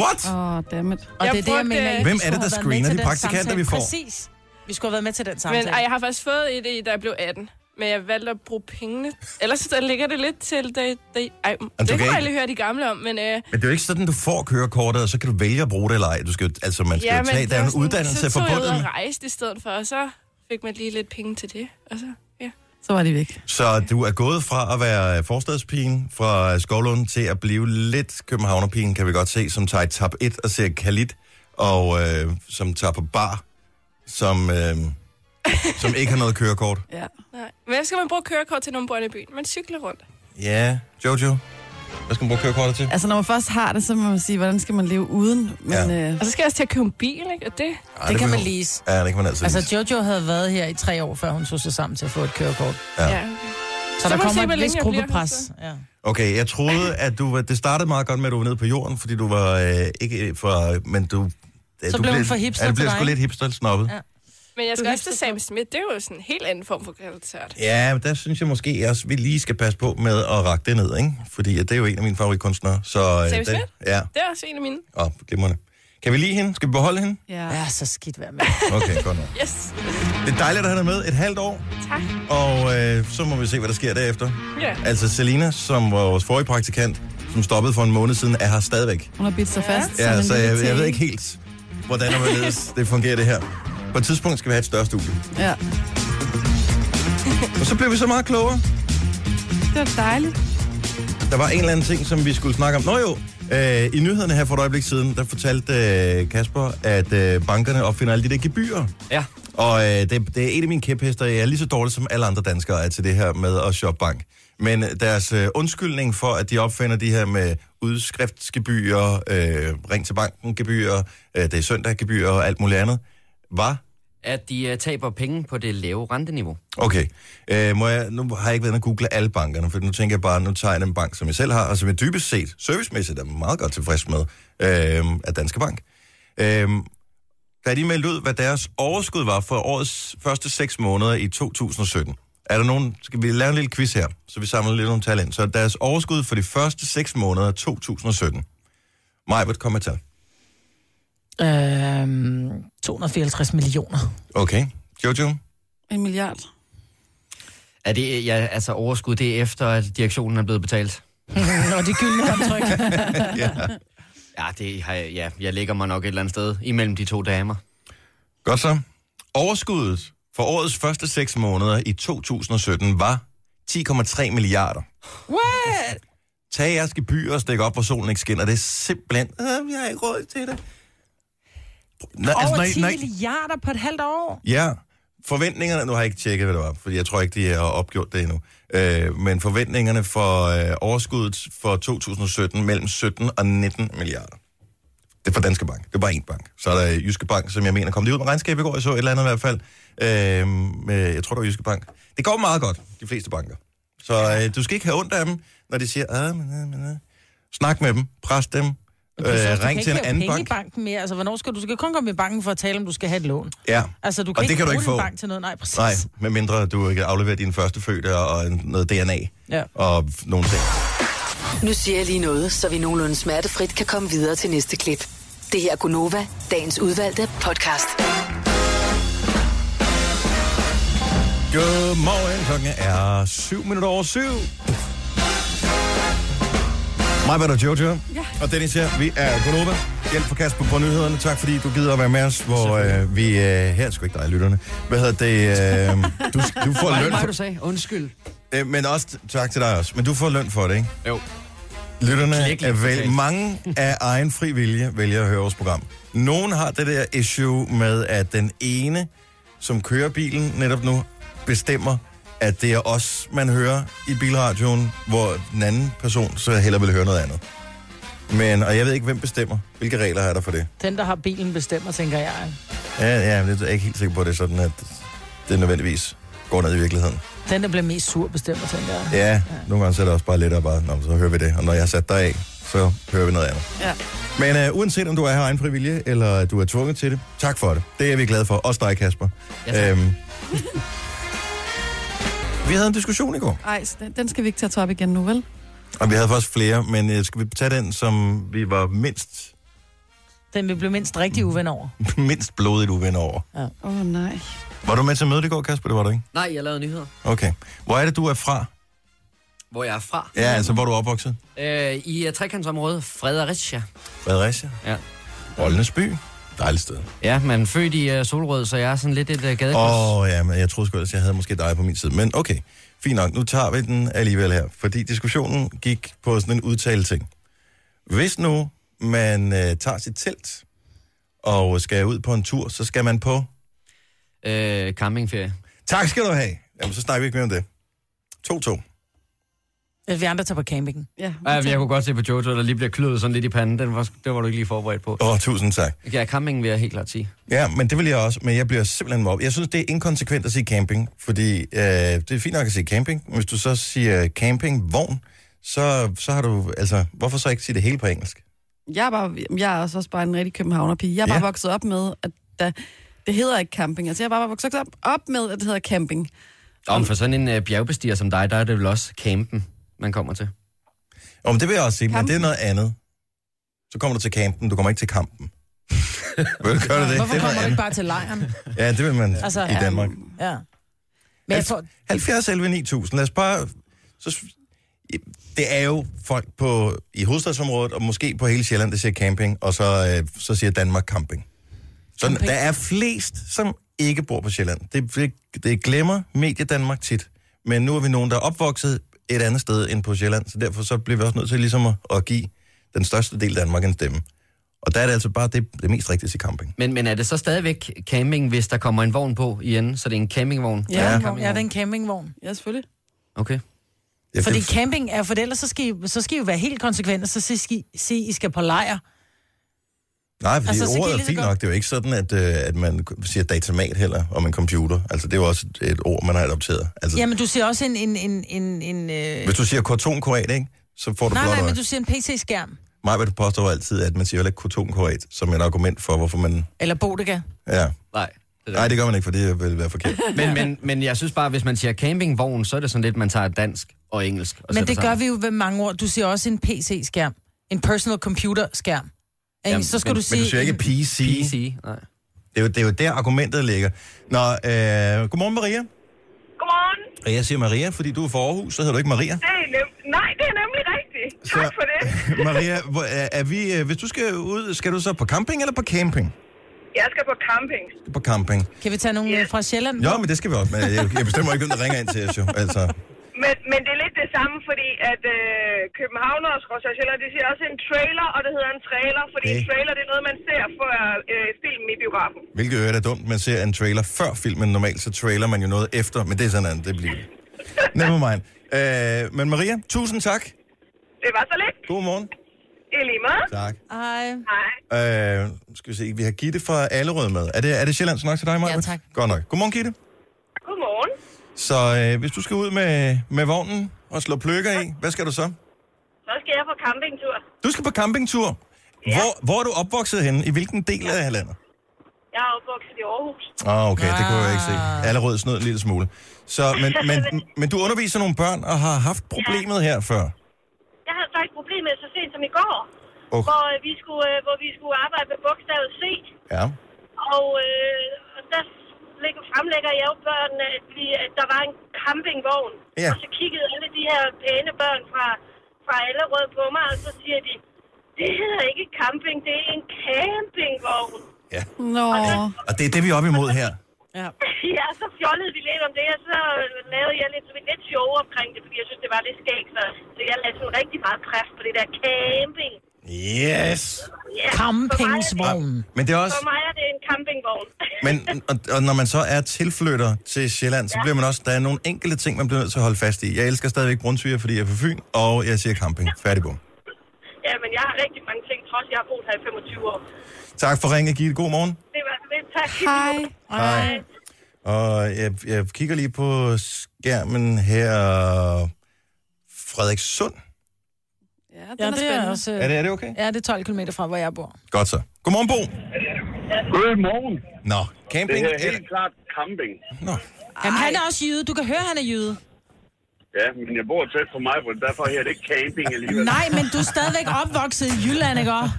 [SPEAKER 1] What?
[SPEAKER 2] Åh, oh, dammit.
[SPEAKER 3] Og
[SPEAKER 8] Jeg
[SPEAKER 3] det er det, jeg
[SPEAKER 8] brugte-
[SPEAKER 3] mener, I
[SPEAKER 1] Hvem er det,
[SPEAKER 3] skulle
[SPEAKER 1] der
[SPEAKER 3] have været
[SPEAKER 1] screener
[SPEAKER 3] med til
[SPEAKER 1] de
[SPEAKER 3] den
[SPEAKER 1] praktikanter,
[SPEAKER 3] samtale.
[SPEAKER 1] vi får?
[SPEAKER 3] Præcis. Vi skulle have været med til den
[SPEAKER 8] men
[SPEAKER 3] samtale.
[SPEAKER 8] ej, jeg har faktisk fået et i, da jeg blev 18. Men jeg valgte at bruge pengene. Ellers så ligger det lidt til... Da, da, ej, det
[SPEAKER 1] kan
[SPEAKER 8] kan
[SPEAKER 1] ikke-
[SPEAKER 8] jeg lige høre de gamle om, men... Øh,
[SPEAKER 1] Men det er jo ikke sådan, du får kørekortet, og så kan du vælge at bruge det eller ej. Du skal, jo- altså, man skal ja, jo tage,
[SPEAKER 8] det
[SPEAKER 1] der er
[SPEAKER 8] var
[SPEAKER 1] en
[SPEAKER 8] sådan,
[SPEAKER 1] uddannelse
[SPEAKER 8] så tog
[SPEAKER 1] forbundet
[SPEAKER 8] jeg ud
[SPEAKER 1] med.
[SPEAKER 8] og rejste i stedet for, og så fik man lige lidt penge til det. Og så, ja.
[SPEAKER 2] Så var de væk.
[SPEAKER 1] Så du er gået fra at være forstadspigen fra Skovlund til at blive lidt københavnerpigen, kan vi godt se, som tager i tab 1 og ser Khalid, og øh, som tager på bar, som, øh, som ikke har noget kørekort.
[SPEAKER 2] Ja.
[SPEAKER 8] Nej. Men hvad skal man bruge kørekort til, når man bor inde i byen? Man cykler rundt.
[SPEAKER 1] Ja, Jojo, hvad skal man bruge kørekortet til?
[SPEAKER 2] Altså, når man først har det, så må man sige, hvordan skal man leve uden? Men,
[SPEAKER 1] Ja.
[SPEAKER 2] ja. øh,
[SPEAKER 9] Altså,
[SPEAKER 8] Og så skal jeg også til at købe en bil, ikke? Og det...
[SPEAKER 1] Ej,
[SPEAKER 3] det kan man
[SPEAKER 1] lide.
[SPEAKER 3] lease.
[SPEAKER 1] Ja, det kan man altid
[SPEAKER 3] Altså,
[SPEAKER 1] lide.
[SPEAKER 3] Jojo havde været her i tre år, før hun tog sig sammen til at få et kørekort. Så,
[SPEAKER 8] Ja.
[SPEAKER 1] Ja.
[SPEAKER 8] ja okay.
[SPEAKER 3] så
[SPEAKER 8] må
[SPEAKER 3] der
[SPEAKER 8] vi se,
[SPEAKER 3] kommer
[SPEAKER 8] hvor
[SPEAKER 3] et
[SPEAKER 8] længe
[SPEAKER 3] vist
[SPEAKER 8] jeg bliver her,
[SPEAKER 3] gruppepres.
[SPEAKER 8] så.
[SPEAKER 3] Ja.
[SPEAKER 1] Okay, jeg troede, at du var, det startede meget godt med, at du var nede på jorden, fordi du var øh, ikke fra... Men du,
[SPEAKER 3] Så
[SPEAKER 1] du
[SPEAKER 3] blev hun for hipster
[SPEAKER 1] ja, du
[SPEAKER 3] til
[SPEAKER 1] blev sgu
[SPEAKER 3] dig.
[SPEAKER 1] lidt hipster-snobbet.
[SPEAKER 3] Ja.
[SPEAKER 8] Men jeg skal
[SPEAKER 3] Du
[SPEAKER 8] også til
[SPEAKER 3] hilser på.
[SPEAKER 8] Sam Smith. Det er jo sådan en helt anden form for kvalitet.
[SPEAKER 1] Ja, men der synes jeg måske også, vi lige skal passe på med at rakke det ned, ikke? Fordi at det er jo en af mine favoritkunstnere. Så, øh,
[SPEAKER 8] Sam
[SPEAKER 1] det-
[SPEAKER 8] Smith?
[SPEAKER 1] Ja,
[SPEAKER 8] Det er også en af mine.
[SPEAKER 1] og glimrende. Kan vi lide hende? Skal vi beholde hende?
[SPEAKER 2] ja.
[SPEAKER 3] Ja, så skidt være med. Øhm,
[SPEAKER 1] Okay, godt nok.
[SPEAKER 8] Yes.
[SPEAKER 1] Det er dejligt at have dig med et halvt år,
[SPEAKER 8] Tak.
[SPEAKER 1] og øh, så må vi se, hvad der sker derefter.
[SPEAKER 8] Ja.
[SPEAKER 1] Altså Selina, som var vores forrige praktikant, som stoppede for en måned siden, er her stadigvæk.
[SPEAKER 2] Hun har bidt sig fast. som
[SPEAKER 1] Ja,
[SPEAKER 2] en
[SPEAKER 1] så
[SPEAKER 2] lille
[SPEAKER 1] jeg, jeg
[SPEAKER 2] ting.
[SPEAKER 1] ved ikke helt, hvordan og hvorledes det fungerer det her. På et tidspunkt skal vi have et større studie.
[SPEAKER 2] Ja.
[SPEAKER 1] Og så blev vi så meget klogere.
[SPEAKER 2] Det var dejligt.
[SPEAKER 1] Der var en eller anden ting, som vi skulle snakke om. Nå jo, øh, i nyhederne her for et øjeblik siden, der fortalte øh, Kasper, at øh, bankerne opfinder alle de der gebyrer.
[SPEAKER 4] Ja.
[SPEAKER 1] Og øh, det, det er en af mine kæphester. Jeg er lige så dårlig som alle andre danskere er til det her med at shoppe bank. Men deres øh, undskyldning for, at de opfinder de her med udskriftsgebyrer, øh, ring til banken-gebyrer, øh, det er søndaggebyrer og alt muligt andet, var...
[SPEAKER 4] At de uh, taber penge på det lave renteniveau.
[SPEAKER 1] Okay, øh, må jeg, nu har jeg ikke været inde og google alle bankerne, for nu tænker jeg bare, nu tager jeg den bank, som jeg selv har, og som jeg dybest set, servicemæssigt, er meget godt tilfreds med, øh, af Danske Bank. Øh, da de meldte ud, hvad deres overskud var for årets første seks måneder i 2017. Er der nogen, skal vi lave en lille quiz her, så vi samler lidt nogle tal ind. Så deres overskud for de første seks måneder af 2017. Maj, hvad kommer til?
[SPEAKER 3] Øhm, 254 millioner.
[SPEAKER 1] Okay. Jojo?
[SPEAKER 2] En milliard.
[SPEAKER 4] Er det, ja, altså overskud, det er efter, at direktionen er blevet betalt?
[SPEAKER 3] Og det gyldne håndtryk.
[SPEAKER 1] Ja.
[SPEAKER 4] Ja, det har jeg, ja, jeg ligger mig nok et eller andet sted imellem de to damer.
[SPEAKER 1] Godt så. Overskuddet for årets første seks måneder i 2017 var 10,3 milliarder.
[SPEAKER 2] What?
[SPEAKER 1] Tag jeres gebyr og stik op, hvor solen ikke skinner. Det er simpelthen... "Øh, Jeg har ikke råd til det. Nå, altså,
[SPEAKER 3] Over 10
[SPEAKER 1] når-
[SPEAKER 3] milliarder på et halvt år.
[SPEAKER 1] Ja, forventningerne, nu har jeg ikke tjekket, hvad det var, fordi jeg tror ikke, de har opgjort det endnu, øh, men forventningerne for øh, overskuddet for 2017 mellem 17 og 19 milliarder. Det er fra Danske Bank. Det er bare én bank. Så er der øh, Jyske Bank, som jeg mener kom lige ud med regnskab i går. Jeg så et eller andet i hvert fald. Øh, med, jeg tror, det var Jyske Bank. Det går meget godt, de fleste banker. Så øh, du skal ikke have ondt af dem, når de siger, ah, men, ah, men, ah. snak med dem, pres dem, øh, ring til en anden
[SPEAKER 3] penge
[SPEAKER 1] bank.
[SPEAKER 3] i banken mere. Altså, hvornår skal du? Du skal kun komme i banken for at tale, om du skal have et lån.
[SPEAKER 1] Ja.
[SPEAKER 3] Altså, du
[SPEAKER 1] Og
[SPEAKER 3] kan
[SPEAKER 1] det
[SPEAKER 3] ikke
[SPEAKER 1] kan du
[SPEAKER 3] bruge
[SPEAKER 1] ikke
[SPEAKER 3] din
[SPEAKER 1] få.
[SPEAKER 3] bank til noget. Nej, præcis.
[SPEAKER 1] Nej, medmindre du ikke afleverer din første fødte og en- noget DNA
[SPEAKER 3] Ja.
[SPEAKER 1] og nogle ting.
[SPEAKER 7] Nu siger jeg lige noget, så vi nogenlunde smertefrit kan komme videre til næste klip. Det her er Gunova, dagens udvalgte podcast.
[SPEAKER 1] Godmorgen, klokken er 7 minutter over syv. Mig, Bette og Jojo. Ja. Og Dennis her. Vi er Gunova. Hjælp for Kasper på nyhederne. Tak fordi du gider at være med os, hvor øh, vi... Øh, her er sgu ikke dig, lytterne. Hvad hedder det? Øh, du, du får
[SPEAKER 4] Var det
[SPEAKER 1] løn
[SPEAKER 4] mig,
[SPEAKER 1] for,
[SPEAKER 4] du sagde? Undskyld.
[SPEAKER 1] øh, Men også tak til dig også. Men du får løn for det, ikke?
[SPEAKER 4] Jo.
[SPEAKER 1] Lytterne
[SPEAKER 4] Klækkelig
[SPEAKER 1] er vel,
[SPEAKER 4] betalt.
[SPEAKER 1] mange af egen fri vilje vælger at høre vores program. Nogen har det der issue med, at den ene, som kører bilen netop nu, bestemmer, at det er os, man hører i bilradioen, hvor den anden person så hellere vil høre noget andet. Men, og jeg ved ikke, hvem bestemmer. Hvilke regler er der for det?
[SPEAKER 3] Den, der har bilen, bestemmer, tænker jeg.
[SPEAKER 1] Ja, ja, men det er jeg ikke helt sikker på, at det er sådan, at det nødvendigvis går ned i virkeligheden.
[SPEAKER 3] Den, der bliver mest sur, bestemmer, tænker jeg.
[SPEAKER 1] Ja, nogle gange så er det også bare lettere bare, Nå, men så hører vi det, og når jeg har sat dig af, så hører vi noget andet.
[SPEAKER 2] Ja.
[SPEAKER 1] Men øh, uanset om du er her af egen frivillige, eller du er tvunget til det, tak for det. Det er vi glade for. Også dig, Kasper.
[SPEAKER 4] Ja, tak.
[SPEAKER 1] Øhm, vi havde en diskussion i går,
[SPEAKER 2] Ej, så den, den skal vi ikke tage op igen nu, vel?
[SPEAKER 1] og vi havde faktisk flere, men øh, skal vi tage den, som vi var mindst,
[SPEAKER 3] Den vil blive mindst rigtig uven over.
[SPEAKER 1] mindst blodigt uven over?
[SPEAKER 2] Åh, oh, nej.
[SPEAKER 1] Var du med til mødet i går, Kasper? Det var du ikke?
[SPEAKER 4] Nej, jeg lavede nyheder.
[SPEAKER 1] Okay. Hvor er det, du er fra?
[SPEAKER 4] Hvor jeg er fra.
[SPEAKER 1] Ja, altså, hvor er du opvokset?
[SPEAKER 4] Øh, I uh, trekantsområdet Fredericia.
[SPEAKER 1] Fredericia?
[SPEAKER 4] Ja.
[SPEAKER 1] Rollenes by? Dejligt sted.
[SPEAKER 4] Ja, men født i uh, Solrød, så jeg er sådan lidt et uh, gadekryds.
[SPEAKER 1] Åh, oh, ja, men jeg troede sgu ellers, jeg havde måske dig på min side. Men okay, fint nok. Nu tager vi den alligevel her. Fordi diskussionen gik på sådan en udtaleting. Hvis nu man øh, tager sit telt og skal ud på en tur, så skal man på...
[SPEAKER 4] Øh, campingferie.
[SPEAKER 1] Tak skal du have! Jamen, så snakker vi ikke mere om det. 2-2.
[SPEAKER 3] Vi andre tager på campingen.
[SPEAKER 2] Ja,
[SPEAKER 4] Ja, men jeg kunne godt se på Jojo, der lige bliver kløet sådan lidt i panden. Den var, det var du ikke lige forberedt på.
[SPEAKER 1] Åh, oh, tusind tak.
[SPEAKER 4] Ja, campingen vil jeg helt klart sige.
[SPEAKER 1] Ja, men det vil jeg også, men jeg bliver simpelthen mobbet. Jeg synes, det er inkonsekvent at sige camping, fordi øh, det er fint nok at sige camping, men hvis du så siger campingvogn, så, så har du, altså, hvorfor så ikke sige det hele på engelsk?
[SPEAKER 2] Jeg er, bare, jeg er også, også bare en rigtig københavnerpige. Jeg er bare
[SPEAKER 1] Ja.
[SPEAKER 2] vokset op med, at der, det hedder ikke camping. Altså, jeg er bare vokset op, op med, at det hedder camping.
[SPEAKER 4] Om for sådan en uh, bjergbestiger som dig, der er det vel også campen, man kommer til.
[SPEAKER 1] Jo, men det vil jeg også sige, men
[SPEAKER 2] Kampen.
[SPEAKER 1] det er noget andet. Så kommer du til campen, du kommer ikke til kampen. Vil du gøre det? det er
[SPEAKER 3] Hvorfor kommer
[SPEAKER 1] noget
[SPEAKER 3] du ikke
[SPEAKER 1] andet.
[SPEAKER 3] bare til lejren?
[SPEAKER 1] Ja, det vil man altså,
[SPEAKER 3] Altså,
[SPEAKER 1] i
[SPEAKER 3] ja.
[SPEAKER 1] Danmark.
[SPEAKER 3] Ja. Men
[SPEAKER 1] Altså,
[SPEAKER 3] jeg tror,
[SPEAKER 1] 70 11 9000, lad os bare... Så, s- det er jo folk på, i hovedstadsområdet, og måske på hele Sjælland, der siger camping, og så, øh, så siger Danmark camping. Så der er flest, som ikke bor på Sjælland. Det, det- det glemmer Medie Danmark tit. Men nu er vi nogen, der er opvokset et andet sted end på Sjælland, så derfor så bliver vi også nødt til ligesom at, at give den største del af Danmark en stemme. Og der er det altså bare det, det mest rigtige til camping.
[SPEAKER 4] Men, men er det så stadigvæk camping, hvis der kommer en vogn på i enden? Så det er en campingvogn?
[SPEAKER 2] Ja.
[SPEAKER 3] ja, ja, ja, det er en campingvogn.
[SPEAKER 2] Ja, selvfølgelig.
[SPEAKER 4] Okay.
[SPEAKER 1] Det er
[SPEAKER 3] Fordi
[SPEAKER 1] fedt.
[SPEAKER 3] camping er, for ellers så skal, I, så skal I jo være helt konsekvente, så skal I- skal I sige, I skal på lejr.
[SPEAKER 1] Nej, fordi
[SPEAKER 3] Altså, så
[SPEAKER 1] altså,
[SPEAKER 3] kan I
[SPEAKER 1] ordet er
[SPEAKER 3] lige så
[SPEAKER 1] fint
[SPEAKER 3] godt-
[SPEAKER 1] nok. Det er jo ikke sådan, at, øh, at man siger datamat heller om en computer. Altså, det er jo også et, et ord, man har adopteret. Altså, Jamen,
[SPEAKER 3] Jamen, du siger også en... en, en, en, en øh...
[SPEAKER 1] hvis du siger kortonkorat, ikke? Så får du
[SPEAKER 3] Nej,
[SPEAKER 1] blot
[SPEAKER 3] nej,
[SPEAKER 1] øje.
[SPEAKER 3] men du siger en PC-skærm.
[SPEAKER 1] Mig vil påstå altid, at man siger heller ikke kortonkorat som et argument for, hvorfor man...
[SPEAKER 3] Eller Bodega.
[SPEAKER 1] Ja.
[SPEAKER 4] Nej. Det
[SPEAKER 1] Nej, det gør man ikke, for det vil være forkert.
[SPEAKER 4] Men, men, men jeg synes bare, hvis man siger campingvogn, så er det sådan lidt, man tager dansk og engelsk. Og
[SPEAKER 3] Men det gør vi jo ved mange ord. Du siger også en PC-skærm. En personal computer-skærm. Jamen,
[SPEAKER 4] Jamen,
[SPEAKER 3] så skal
[SPEAKER 4] men- men
[SPEAKER 3] du
[SPEAKER 1] Men
[SPEAKER 3] sige...
[SPEAKER 1] du siger ikke PC. PC.
[SPEAKER 4] PC, nej.
[SPEAKER 1] Det, er jo, det er jo der, argumentet ligger. Nå, øh, godmorgen Maria.
[SPEAKER 10] Godmorgen.
[SPEAKER 1] Og jeg siger Maria, fordi du er fra Aarhus, så hedder du ikke Maria.
[SPEAKER 10] Det er nem- Nej, det er nemlig rigtigt. Tak for det.
[SPEAKER 1] Maria, hvor, er, er vi, øh, hvis du skal ud, skal du så på camping eller på camping?
[SPEAKER 10] Jeg skal på camping.
[SPEAKER 1] på camping.
[SPEAKER 3] Kan vi tage nogle øh, fra Sjælland?
[SPEAKER 1] Jo, men det skal vi også. Men jeg, jeg bestemmer ikke, hvem der ringer ind til os jo. Altså,
[SPEAKER 10] Men, men det er lidt det samme, fordi at øh, københavnere og Skorstad Sjælland, de siger også en trailer, og det hedder en trailer, fordi
[SPEAKER 1] Det-
[SPEAKER 10] en trailer det er noget, man ser før øh, filmen i biografen.
[SPEAKER 1] hvilket øvrigt er dumt, man ser en trailer før filmen. Normalt så trailer man jo noget efter, men det er sådan andet. Det bliver Never mind. Øh, men Maria, tusind tak.
[SPEAKER 10] Det var så lidt.
[SPEAKER 1] God morgen.
[SPEAKER 10] I lige måde.
[SPEAKER 1] Tak.
[SPEAKER 3] Hej.
[SPEAKER 10] Hej.
[SPEAKER 1] Øh, nu skal vi se, vi har Gitte fra Allerød med. Er det, er det Sjællands nok til dig, Maja?
[SPEAKER 3] Ja, tak.
[SPEAKER 1] Godt nok. Godmorgen, Gitte.
[SPEAKER 10] Godmorgen.
[SPEAKER 1] Så øh, hvis du skal ud med, med vognen og slå pløkker i, hvad skal du så?
[SPEAKER 10] Så skal jeg på campingtur.
[SPEAKER 1] Du skal på campingtur. Hvor, hvor er du opvokset henne? I hvilken del af landet?
[SPEAKER 10] Jeg er opvokset i Aarhus.
[SPEAKER 1] Åh, oh, okay, det kunne jeg ikke se. Allerød snød en lille smule. Så, men, men, men du underviser nogle børn og har haft problemet her før.
[SPEAKER 10] Jeg havde faktisk problemer så sent som i går,
[SPEAKER 1] Okay.
[SPEAKER 10] hvor, øh, vi skulle, øh, hvor vi skulle arbejde med bogstavet C.
[SPEAKER 1] Ja.
[SPEAKER 10] Og, øh, og der lægger, fremlægger jeg jo børnene, at, vi, at der var en campingvogn.
[SPEAKER 1] Ja.
[SPEAKER 10] Og så kiggede alle de her pæne børn fra, fra Allerød på mig, og så siger de, det hedder ikke camping, det er en campingvogn.
[SPEAKER 1] ja.
[SPEAKER 2] Nå,
[SPEAKER 1] Og det er det, vi er op imod her.
[SPEAKER 3] Ja.
[SPEAKER 10] Ja, så fjollede vi lidt om det, og så lavede jeg lidt, sådan lidt sjov omkring det, fordi jeg synes, det var lidt skægt. Så, så jeg lagde sådan rigtig meget præst på det der camping.
[SPEAKER 1] Yes!
[SPEAKER 10] Ja,
[SPEAKER 3] Campingsvognen.
[SPEAKER 1] Men det er også...
[SPEAKER 10] For mig er det en campingvogn.
[SPEAKER 1] Men, og, og når man så er tilflytter til Sjælland, så bliver man også... Der er nogle enkelte ting, man bliver nødt til at holde fast i. Jeg elsker stadigvæk Brunsviger, fordi jeg er fra Fyn, og jeg siger camping. Færdig bum.
[SPEAKER 10] ja, men jeg har rigtig mange ting, trods jeg har boet her i 25 år.
[SPEAKER 1] Tak for ringet, Gitte. God morgen.
[SPEAKER 10] Det var det. Tak.
[SPEAKER 2] hej.
[SPEAKER 1] Hej. Og jeg, jeg kigger lige på skærmen her. Frederikssund.
[SPEAKER 2] Ja, den
[SPEAKER 3] Ja,
[SPEAKER 2] er
[SPEAKER 3] det er
[SPEAKER 2] spændende.
[SPEAKER 3] også...
[SPEAKER 1] Er det, er det okay?
[SPEAKER 3] Ja, det er 12 km fra, hvor jeg bor.
[SPEAKER 1] Godt så. Godmorgen, Bo.
[SPEAKER 11] Godmorgen.
[SPEAKER 1] Nå, camping.
[SPEAKER 11] Det er
[SPEAKER 1] eller-
[SPEAKER 11] helt klart camping.
[SPEAKER 1] Nå.
[SPEAKER 3] Jamen, han er også jyde. Du kan høre, han er jyde.
[SPEAKER 11] Ja, men jeg bor tæt på mig, og derfor her det ikke camping alligevel.
[SPEAKER 3] Nej, men du er stadigvæk opvokset i Jylland, ikke også?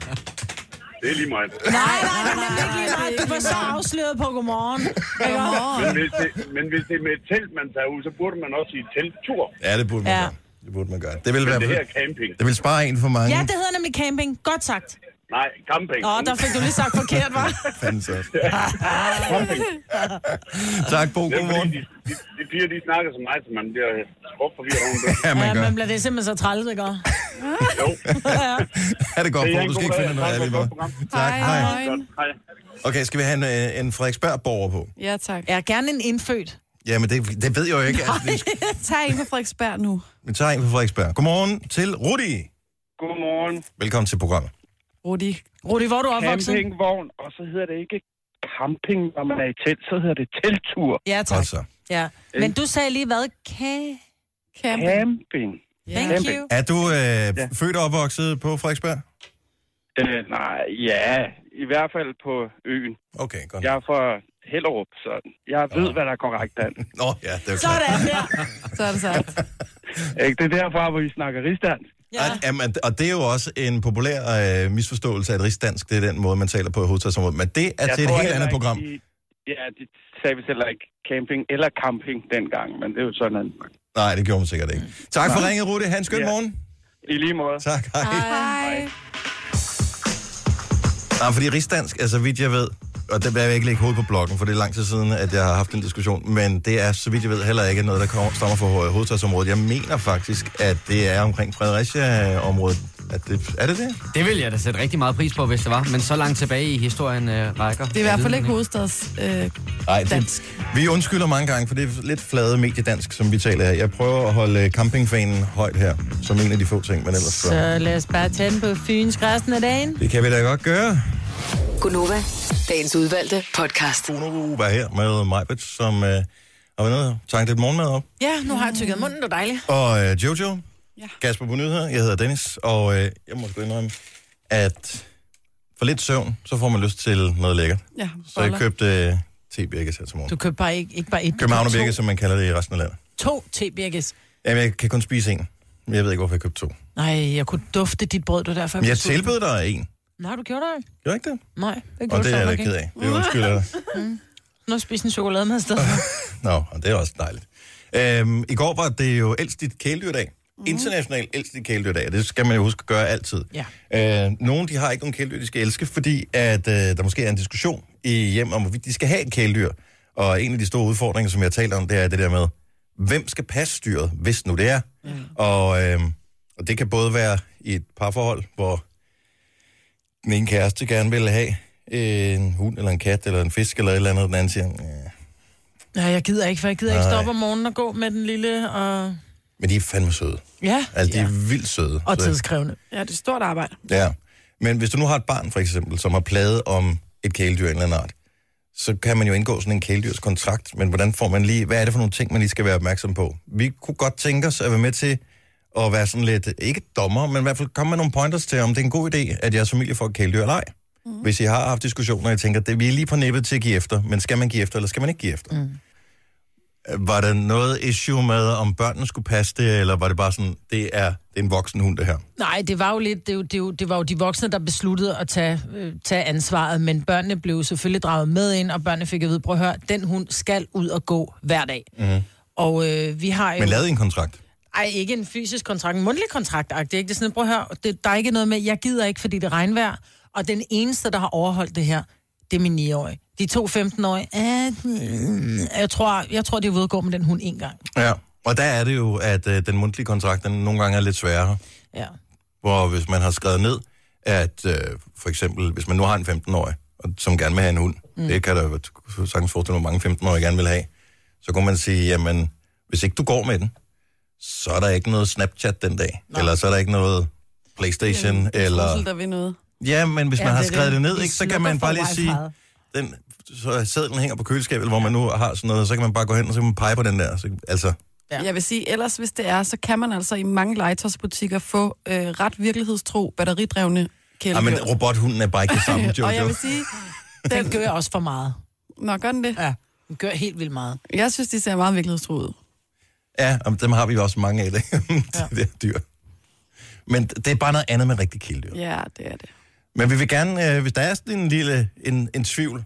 [SPEAKER 11] Det er lige mig.
[SPEAKER 3] Nej, nej, nej, nej, nej, nej. Du var så afsløret på godmorgen. Ikke også?
[SPEAKER 11] Men hvis, det, men hvis det er med et telt, man tager ud, så burde man også sige telttur.
[SPEAKER 1] Ja, det burde man
[SPEAKER 3] Ja.
[SPEAKER 1] gøre. Det burde man gøre. Det vil,
[SPEAKER 11] Men
[SPEAKER 1] være,
[SPEAKER 11] det her er camping.
[SPEAKER 1] det vil spare en for mange.
[SPEAKER 3] Ja, det hedder nemlig camping. Godt sagt.
[SPEAKER 11] Nej, camping.
[SPEAKER 3] Nå, der fik du lige sagt forkert, var.
[SPEAKER 1] Fanden så.
[SPEAKER 11] camping.
[SPEAKER 1] Tak, Bo.
[SPEAKER 11] Det er fordi,
[SPEAKER 1] Godmorgen.
[SPEAKER 11] de, de, de piger, de snakker så meget, så man bliver skrubt forvirret oven det.
[SPEAKER 1] Ja, man
[SPEAKER 3] Ja,
[SPEAKER 1] gør.
[SPEAKER 3] man bliver det simpelthen så træls, ikke også?
[SPEAKER 11] Jo.
[SPEAKER 3] Ja.
[SPEAKER 1] Er det godt,
[SPEAKER 11] Det er
[SPEAKER 1] Bo?
[SPEAKER 11] en
[SPEAKER 1] Du skal
[SPEAKER 11] god
[SPEAKER 1] ikke
[SPEAKER 11] dag.
[SPEAKER 1] finde noget
[SPEAKER 11] Tak
[SPEAKER 1] af
[SPEAKER 11] for
[SPEAKER 1] det,
[SPEAKER 11] et godt program.
[SPEAKER 1] Tak.
[SPEAKER 2] Hej.
[SPEAKER 1] Hej.
[SPEAKER 11] Godt. Hej.
[SPEAKER 1] Okay, skal vi have en, øh, en Frederiksberg-borger på?
[SPEAKER 2] Ja, tak.
[SPEAKER 3] ja, gerne en indfødt.
[SPEAKER 1] Jamen, det, det ved jeg jo ikke. Altså, vi, skal-
[SPEAKER 2] Tag en på Frederiksberg nu.
[SPEAKER 1] vi tager en fra Frederiksberg. Godmorgen til Rudi.
[SPEAKER 11] Godmorgen.
[SPEAKER 1] Velkommen til programmet.
[SPEAKER 2] Rudi.
[SPEAKER 3] Rudi, hvor er du opvokset?
[SPEAKER 11] Campingvogn, og så hedder det ikke camping, når man er i telt, så hedder det telttur.
[SPEAKER 3] Ja, tak.
[SPEAKER 1] Godt så.
[SPEAKER 3] Ja. Men du sagde lige hvad? Ka-
[SPEAKER 2] Camping.
[SPEAKER 11] Camping.
[SPEAKER 3] Thank
[SPEAKER 11] Camping.
[SPEAKER 3] you.
[SPEAKER 1] Er du øh, født og opvokset på Frederiksberg?
[SPEAKER 11] Øh, nej, ja, i hvert fald på øen.
[SPEAKER 1] Okay, godt.
[SPEAKER 11] Jeg er fra Hellerup, så jeg ved, hvad der er korrekt an.
[SPEAKER 1] Nå, ja, det er jo klart.
[SPEAKER 3] Sådan der.
[SPEAKER 2] Så er det sagt.
[SPEAKER 11] Ikke? Det er derfra, hvor vi snakker rigsdansk.
[SPEAKER 1] Ja. At, jamen, og det er jo også en populær øh, misforståelse, at rigsdansk, det er den måde, man taler på i hovedstadsområdet. Men det er
[SPEAKER 11] Jeg
[SPEAKER 1] til et
[SPEAKER 11] tror
[SPEAKER 1] helt
[SPEAKER 11] heller
[SPEAKER 1] andet
[SPEAKER 11] ikke,
[SPEAKER 1] program.
[SPEAKER 11] de- Ja, det sagde vi heller ikke camping eller camping dengang, men det er jo sådan en...
[SPEAKER 1] Nej, det gjorde man sikkert ikke. Tak for ringet, Rudi. Ha' en skøn
[SPEAKER 11] Ja.
[SPEAKER 1] morgen.
[SPEAKER 11] I lige måde.
[SPEAKER 1] Tak, hej.
[SPEAKER 2] Hej.
[SPEAKER 1] Nej, fordi rigsdansk, altså vidt jeg ved, og der bliver jeg ikke lægge hovedet på blokken, for det er lang tid siden, at jeg har haft en diskussion, men det er, så vidt jeg ved, heller ikke noget, der kommer, stammer fra ho- hovedstadsområdet. Jeg mener faktisk, at det er omkring Fredericia-området. At det, er det det?
[SPEAKER 4] Det ville jeg da sætte rigtig meget pris på, hvis det var. Men så langt tilbage i historien øh, rækker.
[SPEAKER 2] Det er i hvert fald ikke hovedstads øh,
[SPEAKER 1] Nej,
[SPEAKER 2] dansk.
[SPEAKER 1] Vi undskylder mange gange, for det er lidt flade mediedansk, som vi taler her. Jeg prøver at holde øh, campingfanen højt her, som en af de få ting, man ellers så...
[SPEAKER 3] Så lad os bare tage den på Fyns resten af dagen.
[SPEAKER 1] Det kan vi da godt gøre.
[SPEAKER 7] Gunova, dagens udvalgte podcast.
[SPEAKER 1] Bruno var her med Majbet, som øh, har været nede og tanket lidt morgenmad op.
[SPEAKER 3] Ja, nu har jeg tykket munden, det er dejligt.
[SPEAKER 1] Og øh, Jojo, ja.
[SPEAKER 2] Ja.
[SPEAKER 1] Kasper på nyheder, jeg hedder Dennis, og øh, jeg må sgu indrømme, at for lidt søvn, så får man lyst til noget lækkert.
[SPEAKER 2] Ja,
[SPEAKER 1] Så jeg
[SPEAKER 2] boller.
[SPEAKER 1] købte øh, tebirkes her til
[SPEAKER 3] Du
[SPEAKER 1] morgen.
[SPEAKER 3] købte bare ikke, ikke bare et, du
[SPEAKER 1] København
[SPEAKER 3] købte
[SPEAKER 1] birke, som man kalder det i resten af landet.
[SPEAKER 3] to, to tebirkes.
[SPEAKER 1] Jamen, jeg kan kun spise en. Men jeg ved ikke, hvorfor jeg købte to.
[SPEAKER 3] Nej, jeg kunne dufte dit brød, du er derfor.
[SPEAKER 1] Men jeg
[SPEAKER 3] blev sulten.
[SPEAKER 1] tilbød dig en.
[SPEAKER 3] Nej, du gjorde det. ikke.
[SPEAKER 1] Gjorde jeg ikke det?
[SPEAKER 3] Nej, det
[SPEAKER 1] Og
[SPEAKER 3] gjorde
[SPEAKER 1] det
[SPEAKER 3] du
[SPEAKER 1] er jeg
[SPEAKER 3] så
[SPEAKER 1] da ked
[SPEAKER 3] ikke.
[SPEAKER 1] af. Det undskylder jeg.
[SPEAKER 3] Nu spiser en chokolade med sted.
[SPEAKER 1] Nå, og det er også dejligt. Øhm, I går var det jo ældst dit kæledyrdag. Mm. International ældst dit kæledyrdag, og det skal man jo huske at gøre altid.
[SPEAKER 3] Ja.
[SPEAKER 1] Øh, nogle de har ikke nogen kæledyr, de skal elske, fordi at, øh, der måske er en diskussion i hjem om, hvorvidt de skal have et kæledyr. Og en af de store udfordringer, som jeg taler om, det er det der med, hvem skal passe dyret, hvis nu det er? Mm. Og, øh, og det kan både være i et parforhold, hvor den ene kæreste gerne vil have øh, en hund eller en kat eller en fisk eller et eller andet, og den anden siger, "Ja."
[SPEAKER 3] Nej, jeg gider ikke, for jeg gider Nej. ikke
[SPEAKER 1] Nej.
[SPEAKER 3] stå op om morgenen og gå med den lille og...
[SPEAKER 1] men de er fandme søde.
[SPEAKER 3] Ja,
[SPEAKER 1] Altså, de er vildt søde.
[SPEAKER 3] og
[SPEAKER 1] Så-
[SPEAKER 3] tidskrævende.
[SPEAKER 2] Ja, det er stort arbejde.
[SPEAKER 1] Ja. Men hvis du nu har et barn, for eksempel, som har plaget om et kæledyr af en eller anden art, så kan man jo indgå sådan en kæledyrskontrakt, men hvordan får man lige, hvad er det for nogle ting, man lige skal være opmærksom på? Vi kunne godt tænke os at være med til at være sådan lidt, ikke dommer, men i hvert fald komme med nogle pointers til, om det er en god idé, at jeres familie får et kæledyr eller ej. Mm. Hvis I har haft diskussioner, og I tænker, det, vi er lige på nippet til at give efter, men skal man give efter, eller skal man ikke give efter? Mm. Var der noget issue med, om børnene skulle passe det, eller var det bare sådan, det er, det er en voksen hund, det her?
[SPEAKER 3] Nej, det var jo lidt, det, er jo- det, er jo- det var jo de voksne, der besluttede at tage, øh, tage ansvaret, men børnene blev selvfølgelig draget med ind, og børnene fik at vide, prøv at høre, den hund skal ud og gå hver dag.
[SPEAKER 1] Mm.
[SPEAKER 3] Og øh, vi har jo...
[SPEAKER 1] Men lavede I en kontrakt?
[SPEAKER 3] Ej, ikke en fysisk kontrakt, en mundtlig kontrakt, ikke? Det er sådan, prøv at høre, det, der er ikke noget med, jeg gider ikke, fordi det er regnvejr, og den eneste, der har overholdt det her, det er min 9-årige. De to 15-årige, øh, jeg tror, jeg tror, de er ude at gå med den hund en gang.
[SPEAKER 1] Ja, og der er det jo, at øh, den mundtlige kontrakt, den nogle gange er lidt sværere.
[SPEAKER 3] Ja.
[SPEAKER 1] Hvor hvis man har skrevet ned, at øh, for eksempel, hvis man nu har en 15-årig, og- som gerne vil have en hund, mm. det kan der jo sagtens forestille, hvor mange 15-årige gerne vil have, så kunne man sige, jamen, hvis ikke du går med den, så er der ikke noget Snapchat den dag, Nej. eller så er der ikke noget Playstation,
[SPEAKER 2] Jamen,
[SPEAKER 1] jamen, eller...
[SPEAKER 2] Trussel, der vil noget.
[SPEAKER 1] Ja, men hvis
[SPEAKER 2] Ja,
[SPEAKER 1] ja, man har
[SPEAKER 2] det er
[SPEAKER 1] skrevet
[SPEAKER 2] det.
[SPEAKER 1] det ned,
[SPEAKER 2] Vi
[SPEAKER 1] ikke, så kan
[SPEAKER 2] slukker
[SPEAKER 1] man
[SPEAKER 2] for
[SPEAKER 1] bare lige sige, den, så sædlen hænger på køleskabet, hvor man nu har sådan noget, så kan man bare gå hen, og så kan man pege på den der. Så, altså,
[SPEAKER 2] Ja. Jeg vil sige, ellers hvis det er, så kan man altså i mange legetøjsbutikker få øh, ret virkelighedstro, batteridrevne
[SPEAKER 1] Ja,
[SPEAKER 2] kæledyr.
[SPEAKER 1] Ah,
[SPEAKER 2] Øh,
[SPEAKER 1] men robothunden er bare ikke det samme, Jojo.
[SPEAKER 2] Og jeg vil sige,
[SPEAKER 3] Den, den gør også for meget.
[SPEAKER 2] Nå, gør den det?
[SPEAKER 3] Ja, den gør helt vildt meget.
[SPEAKER 2] Jeg synes, de ser meget virkelighedstro ud.
[SPEAKER 1] Ja, og dem har vi jo også mange af det, det der dyr. Men det er bare noget andet med rigtig kæledyr.
[SPEAKER 2] Ja, det er det.
[SPEAKER 1] Men vi vil gerne, øh, hvis der er sådan en lille en, en tvivl,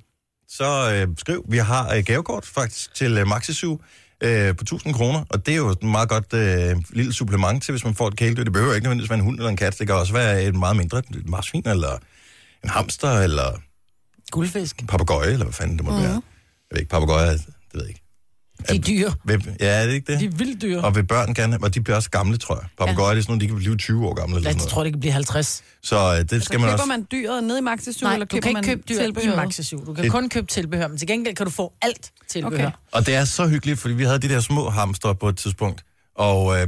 [SPEAKER 1] så øh, skriv. Vi har øh, gavekort faktisk til øh, Maxisu øh, på 1000 kroner, og det er jo et meget godt øh, lille supplement til, hvis man får et kæledyr. Det behøver ikke nødvendigvis være en hund eller en kat, det kan også være et meget mindre et marsvin, eller en hamster, eller
[SPEAKER 3] Guldfisk.
[SPEAKER 1] en papegøje, eller hvad fanden det
[SPEAKER 2] Mhm.
[SPEAKER 1] måtte mm. være. Jeg ved ikke, papegøjer, det ved jeg ikke.
[SPEAKER 3] De er dyre.
[SPEAKER 1] Hvem- Ja, er det ikke det?
[SPEAKER 3] De er vildt dyre.
[SPEAKER 1] Og vil børn gerne, og de bliver også gamle, tror jeg. Papagøjer, ja. det er sådan noget, de kan blive 20 år gamle. Eller
[SPEAKER 3] Jeg
[SPEAKER 1] sådan
[SPEAKER 3] tror,
[SPEAKER 1] noget.
[SPEAKER 3] det kan blive 50.
[SPEAKER 1] Så øh, det skal man
[SPEAKER 2] køber
[SPEAKER 1] også...
[SPEAKER 2] man dyret ned i Maxi 7,
[SPEAKER 3] Nej,
[SPEAKER 2] eller
[SPEAKER 3] du
[SPEAKER 2] køber
[SPEAKER 3] kan
[SPEAKER 2] man
[SPEAKER 3] ikke købe dyr i
[SPEAKER 2] tilbehøret?
[SPEAKER 3] Maxi 7. Du kan
[SPEAKER 1] Et-
[SPEAKER 3] kun købe tilbehør, men til gengæld kan du få alt tilbehør.
[SPEAKER 2] Okay.
[SPEAKER 3] Okay.
[SPEAKER 1] Og det er så hyggeligt, fordi vi havde de der små hamster på et tidspunkt. Og, øh,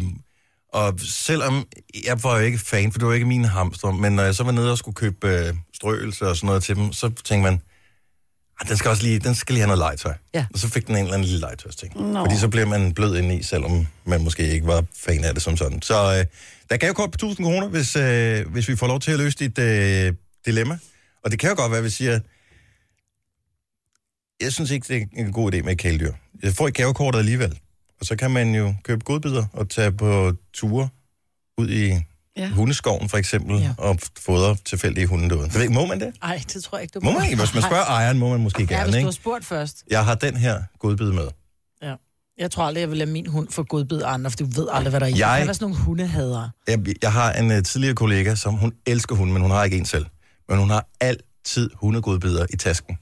[SPEAKER 1] og selvom jeg var jo ikke fan, for det var ikke min hamster, men når jeg så var nede og skulle købe øh, strøelse og sådan noget til dem, så tænkte man, "Ah, den skal også lige, den skal lige have noget legetøj.
[SPEAKER 3] Ja.
[SPEAKER 1] Og så fik den en eller anden lille legetøjsting.
[SPEAKER 2] Nå.
[SPEAKER 1] Fordi så bliver man blød ind i, selvom man måske ikke var fan af det som sådan. Så øh, der er gavekort på 1000 kroner, hvis, øh, hvis vi får lov til at løse dit øh, dilemma. Og det kan jo godt være, at vi siger, jeg synes ikke, det er en god idé med et kæledyr. Jeg får ikke gavekortet alligevel. Og så kan man jo købe godbidder og tage på ture ud i
[SPEAKER 2] Ja.
[SPEAKER 1] ja. hundeskoven for eksempel,
[SPEAKER 3] Ja.
[SPEAKER 1] ja. og fodre tilfældige hunde derude. Jeg ved ikke, må man det?
[SPEAKER 3] Ej, det tror jeg ikke, du
[SPEAKER 1] Må man ikke? Hvis man spørger ejeren, må man måske
[SPEAKER 3] Ja, hvis
[SPEAKER 1] gerne,
[SPEAKER 3] du
[SPEAKER 1] ikke?
[SPEAKER 3] har spurgt først.
[SPEAKER 1] Jeg har den her godbid med.
[SPEAKER 3] Ja. Jeg tror aldrig, jeg vil lade min hund få godbid af andre, for du ved aldrig, hvad der er i.
[SPEAKER 1] Jeg-
[SPEAKER 3] Jeg... Der er sådan nogle hundehader.
[SPEAKER 1] Jeg, jeg har en uh, tidligere kollega, som hun elsker hunde, men hun har ikke en selv. Men hun har altid hundegodbidder i tasken.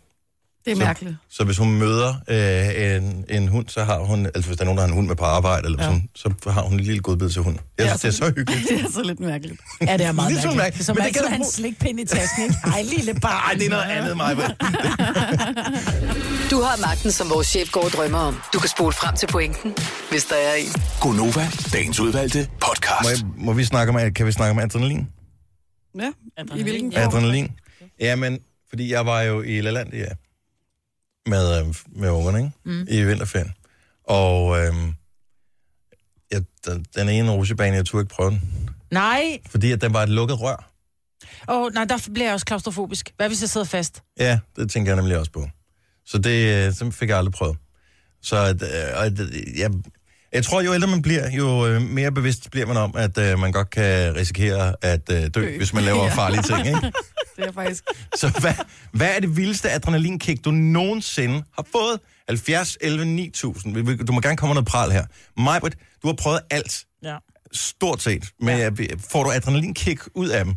[SPEAKER 2] Det er
[SPEAKER 1] Så-
[SPEAKER 2] mærkeligt.
[SPEAKER 1] Så hvis hun møder øh, en, en hund, så har hun, altså hvis der er nogen, der har en hund med på arbejde, eller ja. sådan, så har hun en lille godbid til hunden. Jeg synes, det er så hyggeligt.
[SPEAKER 2] Det er så lidt mærkeligt.
[SPEAKER 3] Ja, det er meget
[SPEAKER 1] Lidt sådan
[SPEAKER 3] mærkeligt.
[SPEAKER 1] mærkeligt,
[SPEAKER 3] Som
[SPEAKER 1] men det
[SPEAKER 3] altid
[SPEAKER 1] kan du
[SPEAKER 3] har en
[SPEAKER 1] bruge-
[SPEAKER 3] slikpind i tasken, ikke? Ej, lille barn.
[SPEAKER 1] Nej, det er noget andet, mig.
[SPEAKER 7] Du har magten, som vores chef går og drømmer om. Du kan spole frem til pointen, hvis der er en.
[SPEAKER 5] Gonova, dagens udvalgte
[SPEAKER 1] Må,
[SPEAKER 5] podcast.
[SPEAKER 1] jeg, må vi snakke om, kan vi snakke om adrenalin?
[SPEAKER 2] Ja, i hvilken
[SPEAKER 1] Ja.
[SPEAKER 2] form?
[SPEAKER 1] Adrenalin? Jamen, fordi jeg var jo i Lalandia med, øh, med ungerne, ikke? Mm. I vinterferien. Og øh, jeg, den, den ene rutsjebane, jeg turde ikke prøve den,
[SPEAKER 3] Nej.
[SPEAKER 1] fordi at den var et lukket rør.
[SPEAKER 3] Åh, oh, nej, der bliver jeg også klaustrofobisk. Hvad hvis jeg sidder fast?
[SPEAKER 1] Ja, det tænker jeg nemlig også på. Så det, øh, så fik jeg aldrig prøvet. Så at, øh, og, at, jeg, jeg tror, jo ældre man bliver, jo øh, mere bevidst bliver man om, at øh, man godt kan risikere at øh, dø,
[SPEAKER 2] Dø.
[SPEAKER 1] dø, hvis man laver
[SPEAKER 2] Ja.
[SPEAKER 1] farlige ting. Ikke?
[SPEAKER 2] Det er faktisk...
[SPEAKER 1] Så hvad, hvad er det vildeste adrenalinkick, du nogensinde har fået? 70, 11, 9000. Vi- vi- Du må gerne komme med noget pral her. Majbrit, du har prøvet alt,
[SPEAKER 3] Ja.
[SPEAKER 1] stort set. Men ja. får du adrenalinkick ud af dem?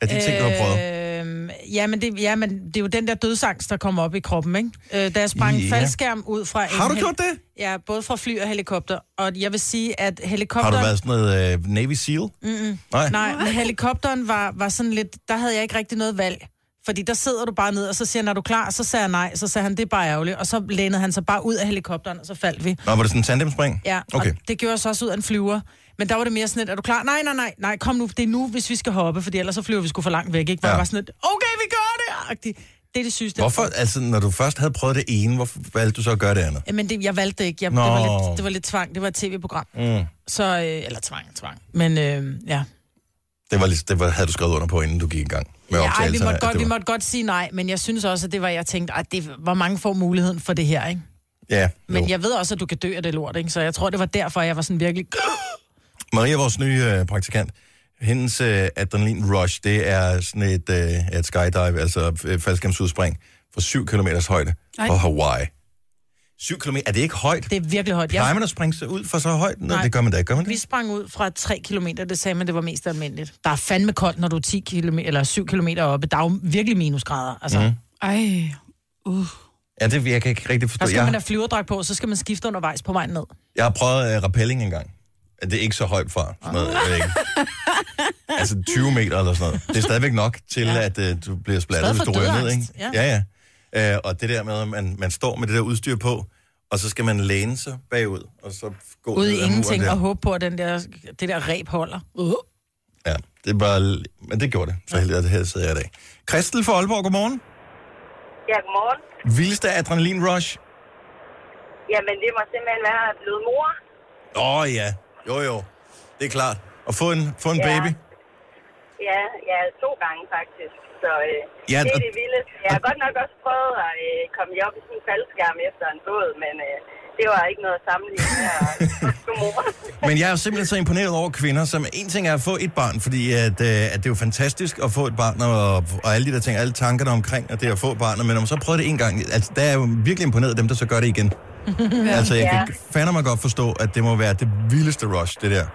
[SPEAKER 1] Af de ting, du har prøvet?
[SPEAKER 3] Øhm, Ja, men det, ja, men det er jo den der dødsangst, der kommer op i kroppen, ikke? Øh, da jeg sprang
[SPEAKER 1] Ja.
[SPEAKER 3] yeah. faldskærm ud fra... en
[SPEAKER 1] Har du
[SPEAKER 3] hel-
[SPEAKER 1] gjort det?
[SPEAKER 3] Ja, både fra fly og helikopter. Og jeg vil sige, at
[SPEAKER 1] Har
[SPEAKER 3] helikopteren...
[SPEAKER 1] du været sådan noget øh, Navy SEAL?
[SPEAKER 3] Mm-mm.
[SPEAKER 1] Nej.
[SPEAKER 3] Nej. Nej, men helikopteren var, var sådan lidt... Der havde jeg ikke rigtig noget valg. Fordi der sidder du bare ned, og så siger han, er du klar? Så sagde jeg nej, så sagde han, det er bare ærgerligt. Og så lænede han sig bare ud af helikopteren, og så faldt vi.
[SPEAKER 1] Nå, var det sådan en tandemspring?
[SPEAKER 3] Ja, okay.
[SPEAKER 1] Okay.
[SPEAKER 3] og det gjorde os også ud af en flyver. Men der var det mere sådan lidt, er du klar? Nej, nej, nej, nej, kom nu, det er nu, hvis vi skal hoppe, fordi ellers så flyver vi sgu for langt væk, ikke? Hvor
[SPEAKER 1] Ja.
[SPEAKER 3] ja. var sådan lidt, okay, vi gør det! agtigt. Det er det sygeste.
[SPEAKER 1] Hvorfor, altså, når du først havde prøvet det ene, hvorfor valgte du så at gøre det andet?
[SPEAKER 3] Men det, jeg valgte det ikke. Jeg, det,
[SPEAKER 1] Nå.
[SPEAKER 3] var lidt, det var lidt tvang. Det var et tv-program.
[SPEAKER 1] Mm.
[SPEAKER 3] Så, øh, eller tvang, tvang. Men øh, ja.
[SPEAKER 1] Det, var, lidt- det var, havde du skrevet under på, inden du gik i gang med
[SPEAKER 3] ja ej, vi
[SPEAKER 1] optagelserne,
[SPEAKER 3] måtte,
[SPEAKER 1] at
[SPEAKER 3] godt,
[SPEAKER 1] det
[SPEAKER 3] vi
[SPEAKER 1] var-
[SPEAKER 3] måtte godt sige nej, men jeg synes også, at det var, jeg tænkte, at det, hvor mange får muligheden for det her, ikke?
[SPEAKER 1] Ja,
[SPEAKER 3] Men
[SPEAKER 1] jo.
[SPEAKER 3] jeg ved også, at du kan dø af det lort, ikke? Så jeg tror, det var derfor, jeg var sådan virkelig...
[SPEAKER 1] Maria, vores nye øh, praktikant, hendes øh, adrenalin rush, det er sådan et, øh, et skydive, altså øh, faldskærmsudspring fra 7 km højde
[SPEAKER 3] Ej.
[SPEAKER 1] på Hawaii. 7 km, er det ikke højt?
[SPEAKER 3] Det er virkelig højt.
[SPEAKER 1] Plejer man at springe sig ud for så højt? Nej,
[SPEAKER 3] Nej.
[SPEAKER 1] det gør man da ikke, gør man
[SPEAKER 3] Vi
[SPEAKER 1] det?
[SPEAKER 3] sprang ud fra 3 km, det sagde man, det var mest almindeligt. Der er fandme koldt, når du er 10 km, eller 7 km oppe. Der er jo virkelig minusgrader. Altså,
[SPEAKER 1] Mhm.
[SPEAKER 3] mm. Ej, uh.
[SPEAKER 1] Ja, det jeg kan ikke rigtig
[SPEAKER 3] Der
[SPEAKER 1] forstå.
[SPEAKER 3] skal
[SPEAKER 1] Jeg,
[SPEAKER 3] man
[SPEAKER 1] har-
[SPEAKER 3] have flyverdragt på, så skal man skifte undervejs på vejen ned.
[SPEAKER 1] jeg har prøvet øh, rappelling engang. Det er ikke så højt fra. Sådan noget, jeg ved ikke. Altså 20 meter eller sådan noget. Det er stadigvæk nok til, ja. at øh, du bliver splattet,
[SPEAKER 12] Stadig
[SPEAKER 1] hvis
[SPEAKER 12] for
[SPEAKER 1] du rører ned, ikke?
[SPEAKER 12] dødangst,
[SPEAKER 1] Ja, ja. ja. Øh, og det der med, at man, man står med det der udstyr på, og så skal man læne sig bagud, og så gå
[SPEAKER 3] Ud
[SPEAKER 1] ned
[SPEAKER 3] i
[SPEAKER 1] ad muren
[SPEAKER 3] ingenting
[SPEAKER 1] der.
[SPEAKER 3] og håbe på, at den der, det der reb holder. Uh.
[SPEAKER 1] Ja, det er bare... l- Men det gjorde det. Så heldig er det her, sidder jeg i dag. Christel fra Aalborg, godmorgen.
[SPEAKER 10] Ja, godmorgen.
[SPEAKER 1] Vildeste adrenalin rush.
[SPEAKER 10] Jamen, det må simpelthen være at blive mor.
[SPEAKER 1] Åh oh, ja, jo jo, det er klart. Og få en, få en
[SPEAKER 10] Ja.
[SPEAKER 1] baby.
[SPEAKER 10] Ja, ja, to gange faktisk. Så
[SPEAKER 1] Ja,
[SPEAKER 10] øh, ja, det er
[SPEAKER 1] og-
[SPEAKER 10] det vildeste. Jeg har godt nok også prøvet at øh, komme op i sådan en faldskærm efter en båd, men øh, det var ikke noget at sammenligne med at skulle mor.
[SPEAKER 1] Men jeg er jo simpelthen så imponeret over kvinder, som en ting er at få et barn, fordi at, øh, at det er jo fantastisk at få et barn, og, og alle de der ting, alle tankerne omkring, at det er at få barnet, men når man så prøver det en gang, altså, der er jeg jo virkelig imponeret af dem, der så gør det igen. Ja. Altså, jeg kan fandme godt forstå, at det må være det vildeste rush, det der.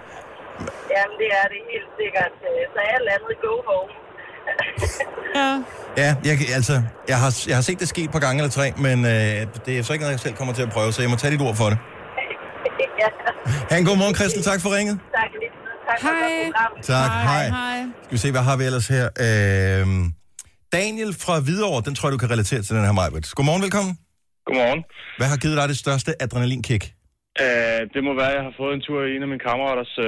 [SPEAKER 10] Jamen, det er det helt sikkert. Øh, Så er landet go home.
[SPEAKER 3] ja.
[SPEAKER 1] Ja, jeg, kan- altså, jeg har, jeg har set det ske et par gange eller tre, men øh, det er så ikke noget, jeg selv kommer til at prøve, så jeg må tage dit ord for det.
[SPEAKER 10] ja,
[SPEAKER 1] Ha' en god morgen, Christel. Tak for ringet.
[SPEAKER 10] tak lige. Tak for godt program.
[SPEAKER 1] Tak, hej. Skal vi se, hvad har vi ellers her? Øhm, Daniel fra Hvidovre, den tror jeg, du kan relatere til den her Majbert. Godmorgen, velkommen.
[SPEAKER 11] Godmorgen.
[SPEAKER 1] Hvad har givet dig det største adrenalinkick?
[SPEAKER 11] Uh, det må være, at jeg har fået en tur i en af mine kammeraters uh,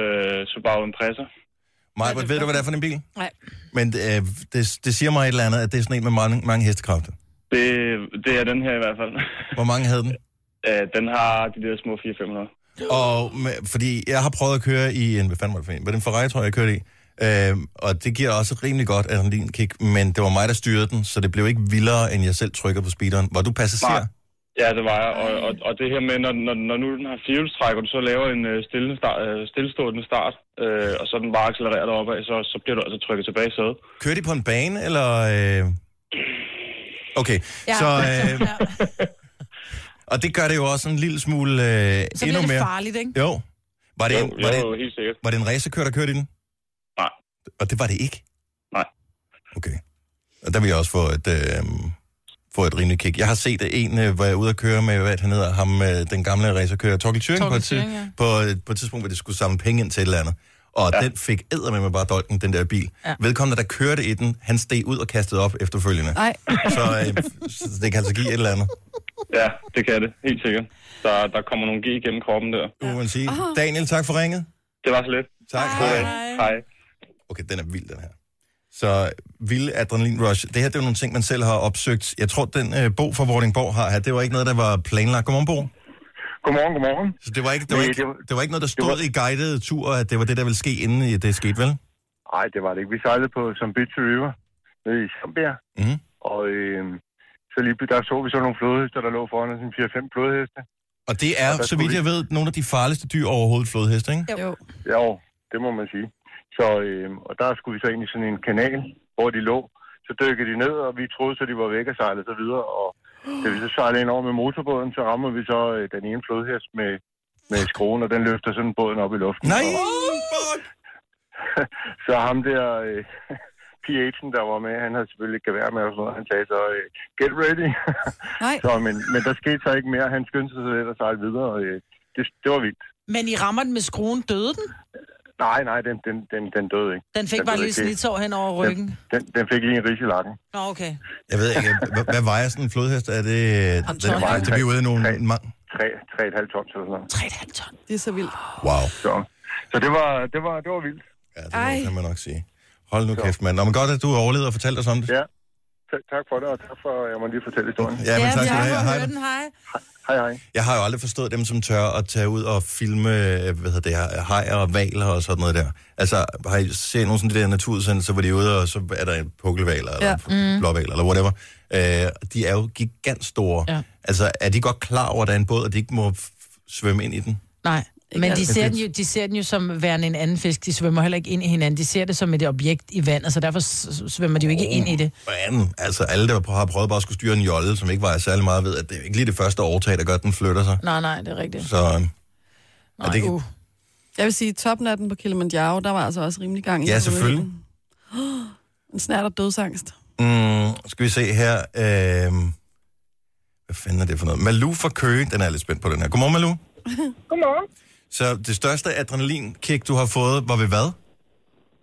[SPEAKER 11] Subaru Impreza.
[SPEAKER 1] Majbert, ved du, hvad det er for en bil?
[SPEAKER 3] Nej.
[SPEAKER 1] Men øh, det, det siger mig et eller andet, at det er sådan en med mange, mange hestekræfter.
[SPEAKER 11] Det, det er den her i hvert fald.
[SPEAKER 1] Hvor mange havde den?
[SPEAKER 11] Uh, den har de der små 400-500.
[SPEAKER 1] Og med, fordi jeg har prøvet at køre i en, hvad fanden var det for en? Var det en Ferrari, tror jeg, jeg kørte i? Øhm, og det giver også rimelig godt adrenalinkick, men det var mig, der styrede den, så det blev ikke vildere, end jeg selv trykker på speederen. Var du passager?
[SPEAKER 11] Nej. Ja, det var jeg. Og, og, og det her med, når, når, når nu den har firehjulstræk, og du så laver en øh, stille start, øh, stillestående start, øh, og så den bare accelererer dig opad, så, så bliver du altså trykket tilbage i sædet.
[SPEAKER 1] Kører de på en bane, eller... Øh... Okay, ja.
[SPEAKER 11] Ja.
[SPEAKER 1] så... Øh... Og det gør det jo også en lille smule øh,
[SPEAKER 3] Så
[SPEAKER 1] endnu
[SPEAKER 3] bliver det
[SPEAKER 1] mere.
[SPEAKER 3] farligt, ikke?
[SPEAKER 1] Jo. Var det, en,
[SPEAKER 11] Jo,
[SPEAKER 1] var,
[SPEAKER 11] jo,
[SPEAKER 1] det,
[SPEAKER 11] helt sikkert.
[SPEAKER 1] var det en racerkører, der kørte i den?
[SPEAKER 11] Nej.
[SPEAKER 1] Og det var det ikke?
[SPEAKER 11] Nej.
[SPEAKER 1] Okay. Og der vil jeg også få et, øh, få et rimeligt kick. Jeg har set at en, øh, hvor jeg er ude at køre med, hvad han hedder, ham, øh, den gamle racerkører, Torkel Thuring, på,
[SPEAKER 12] Torkel
[SPEAKER 1] et, tid-
[SPEAKER 12] Thuring, ja.
[SPEAKER 1] på, et- på et tidspunkt, hvor de skulle samle penge ind til et eller andet. Og ja. den fik æder med mig bare dolken, den der bil. Ja.
[SPEAKER 12] Ja.
[SPEAKER 1] Vedkommende, der kørte i den, han steg ud og kastede op efterfølgende.
[SPEAKER 2] Nej.
[SPEAKER 1] Så, øh, så det kan altså give et eller andet.
[SPEAKER 11] Ja, det kan det. Helt sikkert. Der, der kommer nogle G igennem kroppen der.
[SPEAKER 1] kunne man sige. Daniel, tak for ringet.
[SPEAKER 11] Det var så lidt.
[SPEAKER 1] Tak.
[SPEAKER 11] Hej. Hej.
[SPEAKER 1] Okay, den er vild, den her. Så vild adrenalin rush. Det her, det er jo nogle ting, man selv har opsøgt. Jeg tror, den øh, Bo fra Vordingborg har her, det var ikke noget, der var planlagt. Godmorgen, Bo.
[SPEAKER 11] Godmorgen, godmorgen.
[SPEAKER 1] Så det var ikke, det var
[SPEAKER 12] Nej,
[SPEAKER 1] ikke,
[SPEAKER 12] det var-
[SPEAKER 1] det var ikke noget, der stod i guidede tur, at det var det, der ville ske, inden i- det skete, vel?
[SPEAKER 12] Nej, det var det ikke. Vi sejlede på som Beach River nede i Zambia.
[SPEAKER 1] Mhm.
[SPEAKER 12] Og øh, så lige pl- der så vi så nogle flodhester, der lå foran os, en 4-5 flodheste.
[SPEAKER 1] Og det er,
[SPEAKER 12] Og der
[SPEAKER 1] så
[SPEAKER 12] skulle
[SPEAKER 1] vidt
[SPEAKER 12] vi-
[SPEAKER 1] jeg ved, nogle af de farligste dyr overhovedet, flodheste, ikke?
[SPEAKER 2] Jo.
[SPEAKER 12] Jo, det må man sige. Så, øh, og der skulle vi så ind i sådan en kanal, hvor de lå. Så dykkede de ned, og vi troede, så de var væk og sejlede så videre. Og da vi så sejlede ind over med motorbåden, så rammer vi så øh, den ene flodhest med, med skruen, og den løfter sådan båden op i luften.
[SPEAKER 1] Nej!
[SPEAKER 12] så ham der, øh, PH'en, der var med, han havde selvfølgelig et gevær med og sådan noget. Han sagde så, øh, get ready.
[SPEAKER 2] Nej.
[SPEAKER 12] så, men, men der skete så ikke mere. Han skyndte sig så lidt og sejlede videre. Og, øh, det, det var vildt.
[SPEAKER 3] Men I rammer den med skruen, døde den?
[SPEAKER 12] Nej, nej, den, den, den, den døde ikke.
[SPEAKER 3] Den fik bare
[SPEAKER 12] døde
[SPEAKER 3] lige
[SPEAKER 12] ikke.
[SPEAKER 3] snitsår hen over ryggen.
[SPEAKER 12] Den, den fik lige en ris i lakken.
[SPEAKER 3] Nå, okay.
[SPEAKER 1] Jeg ved ikke, hvad, hvad vejer sådan en flodhest? Er det...
[SPEAKER 3] Om
[SPEAKER 1] Den
[SPEAKER 3] tolv.
[SPEAKER 1] vejer, til vi er ude i nogle mang.
[SPEAKER 12] 3,5 tons eller sådan noget.
[SPEAKER 3] 3,5 ton.
[SPEAKER 2] Det er så vildt.
[SPEAKER 1] Wow.
[SPEAKER 12] Så, så det, var, det, var, det var vildt.
[SPEAKER 1] Ja, det Ej. kan man nok sige. Hold nu kæft, mand. Nå, men godt, at du overlevede og fortalte os om det.
[SPEAKER 12] Ja. Ta- tak for det, og tak for, at jeg må lige fortælle historien.
[SPEAKER 1] Ja, men tak skal du have. Hej.
[SPEAKER 3] den, hej.
[SPEAKER 12] Hej, hej.
[SPEAKER 1] Jeg har jo aldrig forstået dem, som tør at tage ud og filme, øh, hvad hedder det her, hajer og valer og sådan noget der. Altså, har I set nogle sådan de der naturudsendelser, hvor de er ude, og så er der en pukkelvaler, eller
[SPEAKER 10] Ja.
[SPEAKER 1] ja.
[SPEAKER 10] Mm.
[SPEAKER 1] en blåvaler, eller whatever. Øh, de er jo gigantstore.
[SPEAKER 3] Ja.
[SPEAKER 1] Ja. Altså, er de godt klar over, at der er en båd, og de ikke må f- svømme ind i den?
[SPEAKER 3] Nej, men de
[SPEAKER 1] altså.
[SPEAKER 3] ser, den jo, de ser den jo som værende en anden fisk. De svømmer heller ikke ind i hinanden. De ser det som et objekt i vandet, så derfor s- svømmer de jo ikke ind i det.
[SPEAKER 1] Og anden, altså alle, der har prøvet bare at skulle styre en jolle, som ikke vejer særlig meget, ved, at det er ikke lige det første overtag, der gør, at den flytter sig.
[SPEAKER 3] Nej, nej, det er rigtigt.
[SPEAKER 1] Så øh,
[SPEAKER 3] Nej,
[SPEAKER 1] det-
[SPEAKER 3] uh.
[SPEAKER 2] Jeg vil sige, i topnatten på Kilimanjaro, der var altså også rimelig gang i.
[SPEAKER 1] ja,
[SPEAKER 2] den.
[SPEAKER 1] selvfølgelig.
[SPEAKER 2] En snært og dødsangst.
[SPEAKER 1] Mm, skal vi se her. Øh, hvad fanden er det for noget? Malou fra Køge, den er jeg lidt spændt på den her. Godmorgen, Malou.
[SPEAKER 9] Godmorgen.
[SPEAKER 1] Så det største adrenalinkick, du har fået, var ved hvad?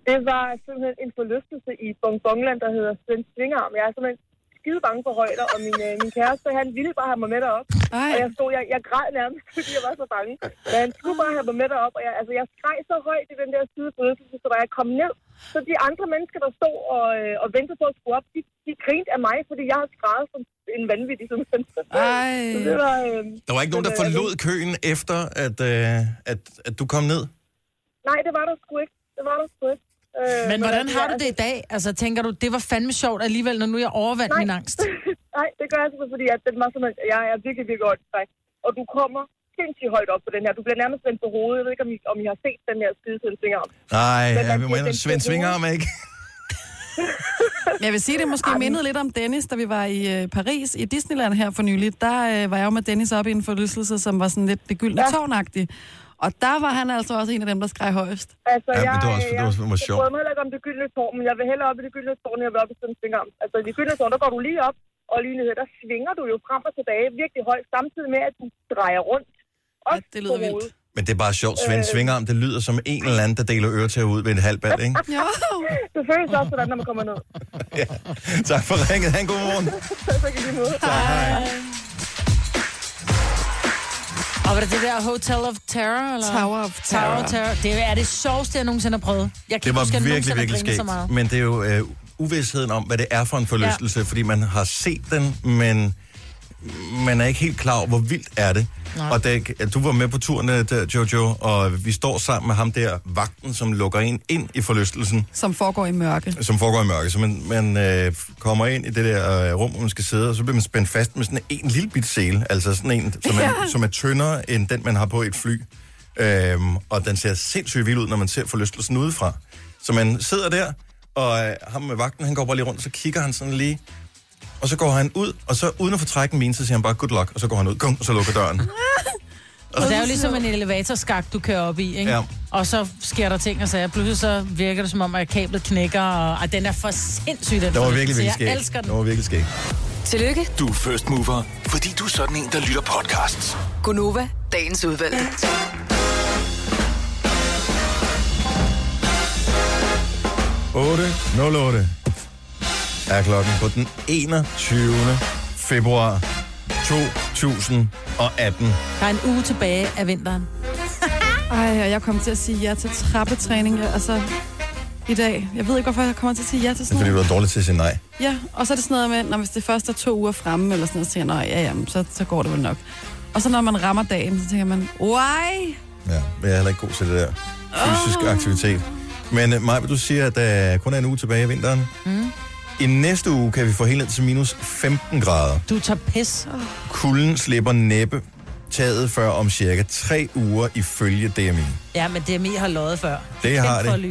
[SPEAKER 9] Det var simpelthen en forlystelse i Bongbongland, der hedder Svend Svingarm. Jeg er simpelthen skide bange for højder, og min, øh, min kæreste, han ville bare have mig med derop.
[SPEAKER 2] Ej.
[SPEAKER 9] Og jeg stod, jeg, jeg græd nærmest, fordi jeg var så bange. Men han skulle bare have mig med derop, og jeg, altså, jeg skreg så højt i den der side forlystelse, så da jeg kom ned, så de andre mennesker, der stod og, øh, og ventede på at skulle op, de, de grinte af mig, fordi jeg havde skrevet som en vanvittig. Simpelthen.
[SPEAKER 2] Ej.
[SPEAKER 9] Så det var, øh,
[SPEAKER 1] Der var ikke nogen, der
[SPEAKER 9] men, øh,
[SPEAKER 1] forlod køen efter, at, øh, at, at du kom ned?
[SPEAKER 9] Nej, det var der sgu ikke. Det var der sgu ikke. Øh,
[SPEAKER 3] Men hvordan
[SPEAKER 9] altså,
[SPEAKER 3] har
[SPEAKER 9] jeg-
[SPEAKER 3] du det i dag? Altså, tænker du, det var fandme sjovt alligevel, når nu jeg overvandt min angst?
[SPEAKER 9] Nej, det gør jeg simpelthen, fordi at den var simpelthen, jeg er virkelig, virkelig åndssvagt. Og du kommer sindssygt højt op på den her. Du bliver nærmest vendt på hovedet. Jeg ved ikke, om I, om I har set den her skide til en finger om.
[SPEAKER 1] Nej,
[SPEAKER 9] Men
[SPEAKER 1] ja,
[SPEAKER 9] man
[SPEAKER 1] vi må
[SPEAKER 9] siger,
[SPEAKER 1] ændre
[SPEAKER 9] den
[SPEAKER 1] Svend
[SPEAKER 9] skal
[SPEAKER 1] Svinger om, ikke?
[SPEAKER 2] Men jeg vil sige, det måske mindede lidt om Dennis, da vi var i øh, Paris i Disneyland her for nylig. Der øh, var jeg jo med Dennis op i en forlystelse, som var sådan lidt det gyldne ja. tårnagtige. Og der var han altså også en af dem, der skreg højest.
[SPEAKER 9] Altså,
[SPEAKER 1] Ja, men
[SPEAKER 9] jeg,
[SPEAKER 1] det var også-
[SPEAKER 9] øh,
[SPEAKER 1] det var- det var sjovt.
[SPEAKER 9] jeg, Jeg prøver mig heller ikke om det gyldne tårn, men jeg vil hellere op i det gyldne tårn, end jeg vil op i sådan en finger om. Altså, i det gyldne tårn, der går du lige op, og lige ned, der svinger du jo frem og tilbage virkelig højt, samtidig med, at du drejer rundt. Også ja, det lyder vildt.
[SPEAKER 1] Men det er bare sjovt, Svend Svinger om, det lyder som en eller anden, der deler øretæver ud ved en halvbald, ikke?
[SPEAKER 9] Jo. det føles også sådan, når man kommer ned.
[SPEAKER 1] tak for ringet. Han, god morgen.
[SPEAKER 9] så kan de møde.
[SPEAKER 3] Og var det det der Hotel of Terror? Eller?
[SPEAKER 2] Tower of
[SPEAKER 3] Tower
[SPEAKER 1] Terror.
[SPEAKER 3] of Terror. Det er det sjoveste, jeg nogensinde har prøvet. Jeg kan
[SPEAKER 1] Det
[SPEAKER 3] ikke huske, at
[SPEAKER 1] var
[SPEAKER 3] jeg
[SPEAKER 1] virkelig,
[SPEAKER 3] nogensinde
[SPEAKER 1] virkelig
[SPEAKER 3] har grinet
[SPEAKER 1] skægt.
[SPEAKER 3] så meget.
[SPEAKER 1] Men det er jo øh, uvidsheden om, hvad det er for en forlystelse, ja. fordi man har set den, men man er ikke helt klar over, hvor vildt er det.
[SPEAKER 10] Nej.
[SPEAKER 1] Og da, du var med på turen, øh, der, Jojo, og vi står sammen med ham der, vagten, som lukker en ind i forlystelsen,
[SPEAKER 2] Som foregår i mørke.
[SPEAKER 1] som foregår i mørke. Så man, man øh, kommer ind i det der øh, rum, hvor man skal sidde, og så bliver man spændt fast med sådan en lille bit sele, altså sådan en, som er,
[SPEAKER 10] Ja.
[SPEAKER 1] som er tyndere end den, man har på et fly. Øhm, og den ser sindssygt vild ud, når man ser forlystelsen udefra. Så man sidder der, og øh, ham med vagten, han går bare lige rundt, og så kigger han sådan lige, og så går han ud, og så uden at få trækken min, så siger han bare, good luck, og så går han ud, kom, og så lukker døren.
[SPEAKER 3] Og det er jo ligesom en elevatorskak, du kører op i, ikke?
[SPEAKER 1] Ja.
[SPEAKER 3] Og så sker der ting og sager. Pludselig så virker det som om, at kablet knækker, og, og den er for sindssyg, den
[SPEAKER 1] Det var
[SPEAKER 3] forlystelse.
[SPEAKER 1] virkelig, virkelig
[SPEAKER 3] Jeg
[SPEAKER 1] skægt.
[SPEAKER 3] elsker den.
[SPEAKER 1] Det var virkelig skægt.
[SPEAKER 7] Tillykke,
[SPEAKER 13] Du er first mover, fordi du er sådan en, der lytter podcasts.
[SPEAKER 7] Gunova, dagens udvalgte.
[SPEAKER 1] Er klokken på den 21. februar 2018.
[SPEAKER 3] Der er en uge tilbage af vinteren.
[SPEAKER 2] Ej, og jeg kom til at sige ja til trappetræning, ja, altså i dag. Jeg ved ikke, hvorfor jeg kommer til at sige ja til
[SPEAKER 1] Det er
[SPEAKER 2] sådan
[SPEAKER 1] fordi, du
[SPEAKER 2] noget.
[SPEAKER 1] er dårlig til at sige nej.
[SPEAKER 2] Ja, og så er det sådan noget med, når hvis det først er to uger fremme, eller sådan noget, så tænker jeg, "Nå, ja, jamen, så, så går det vel nok. Og så når man rammer dagen, så tænker man, why?
[SPEAKER 1] Ja, men jeg er heller ikke god til det der fysisk aktivitet. Men øh, Maja, du siger, at der kun er en uge tilbage i vinteren.
[SPEAKER 3] Mm.
[SPEAKER 1] I næste uge kan vi få helt ned til minus 15 grader.
[SPEAKER 3] Du tager pis.
[SPEAKER 1] Kulden slipper næppe taget før om cirka tre uger ifølge DMI.
[SPEAKER 3] Ja, men DMI har løjet før.
[SPEAKER 1] Det har
[SPEAKER 3] Kendt for
[SPEAKER 1] det.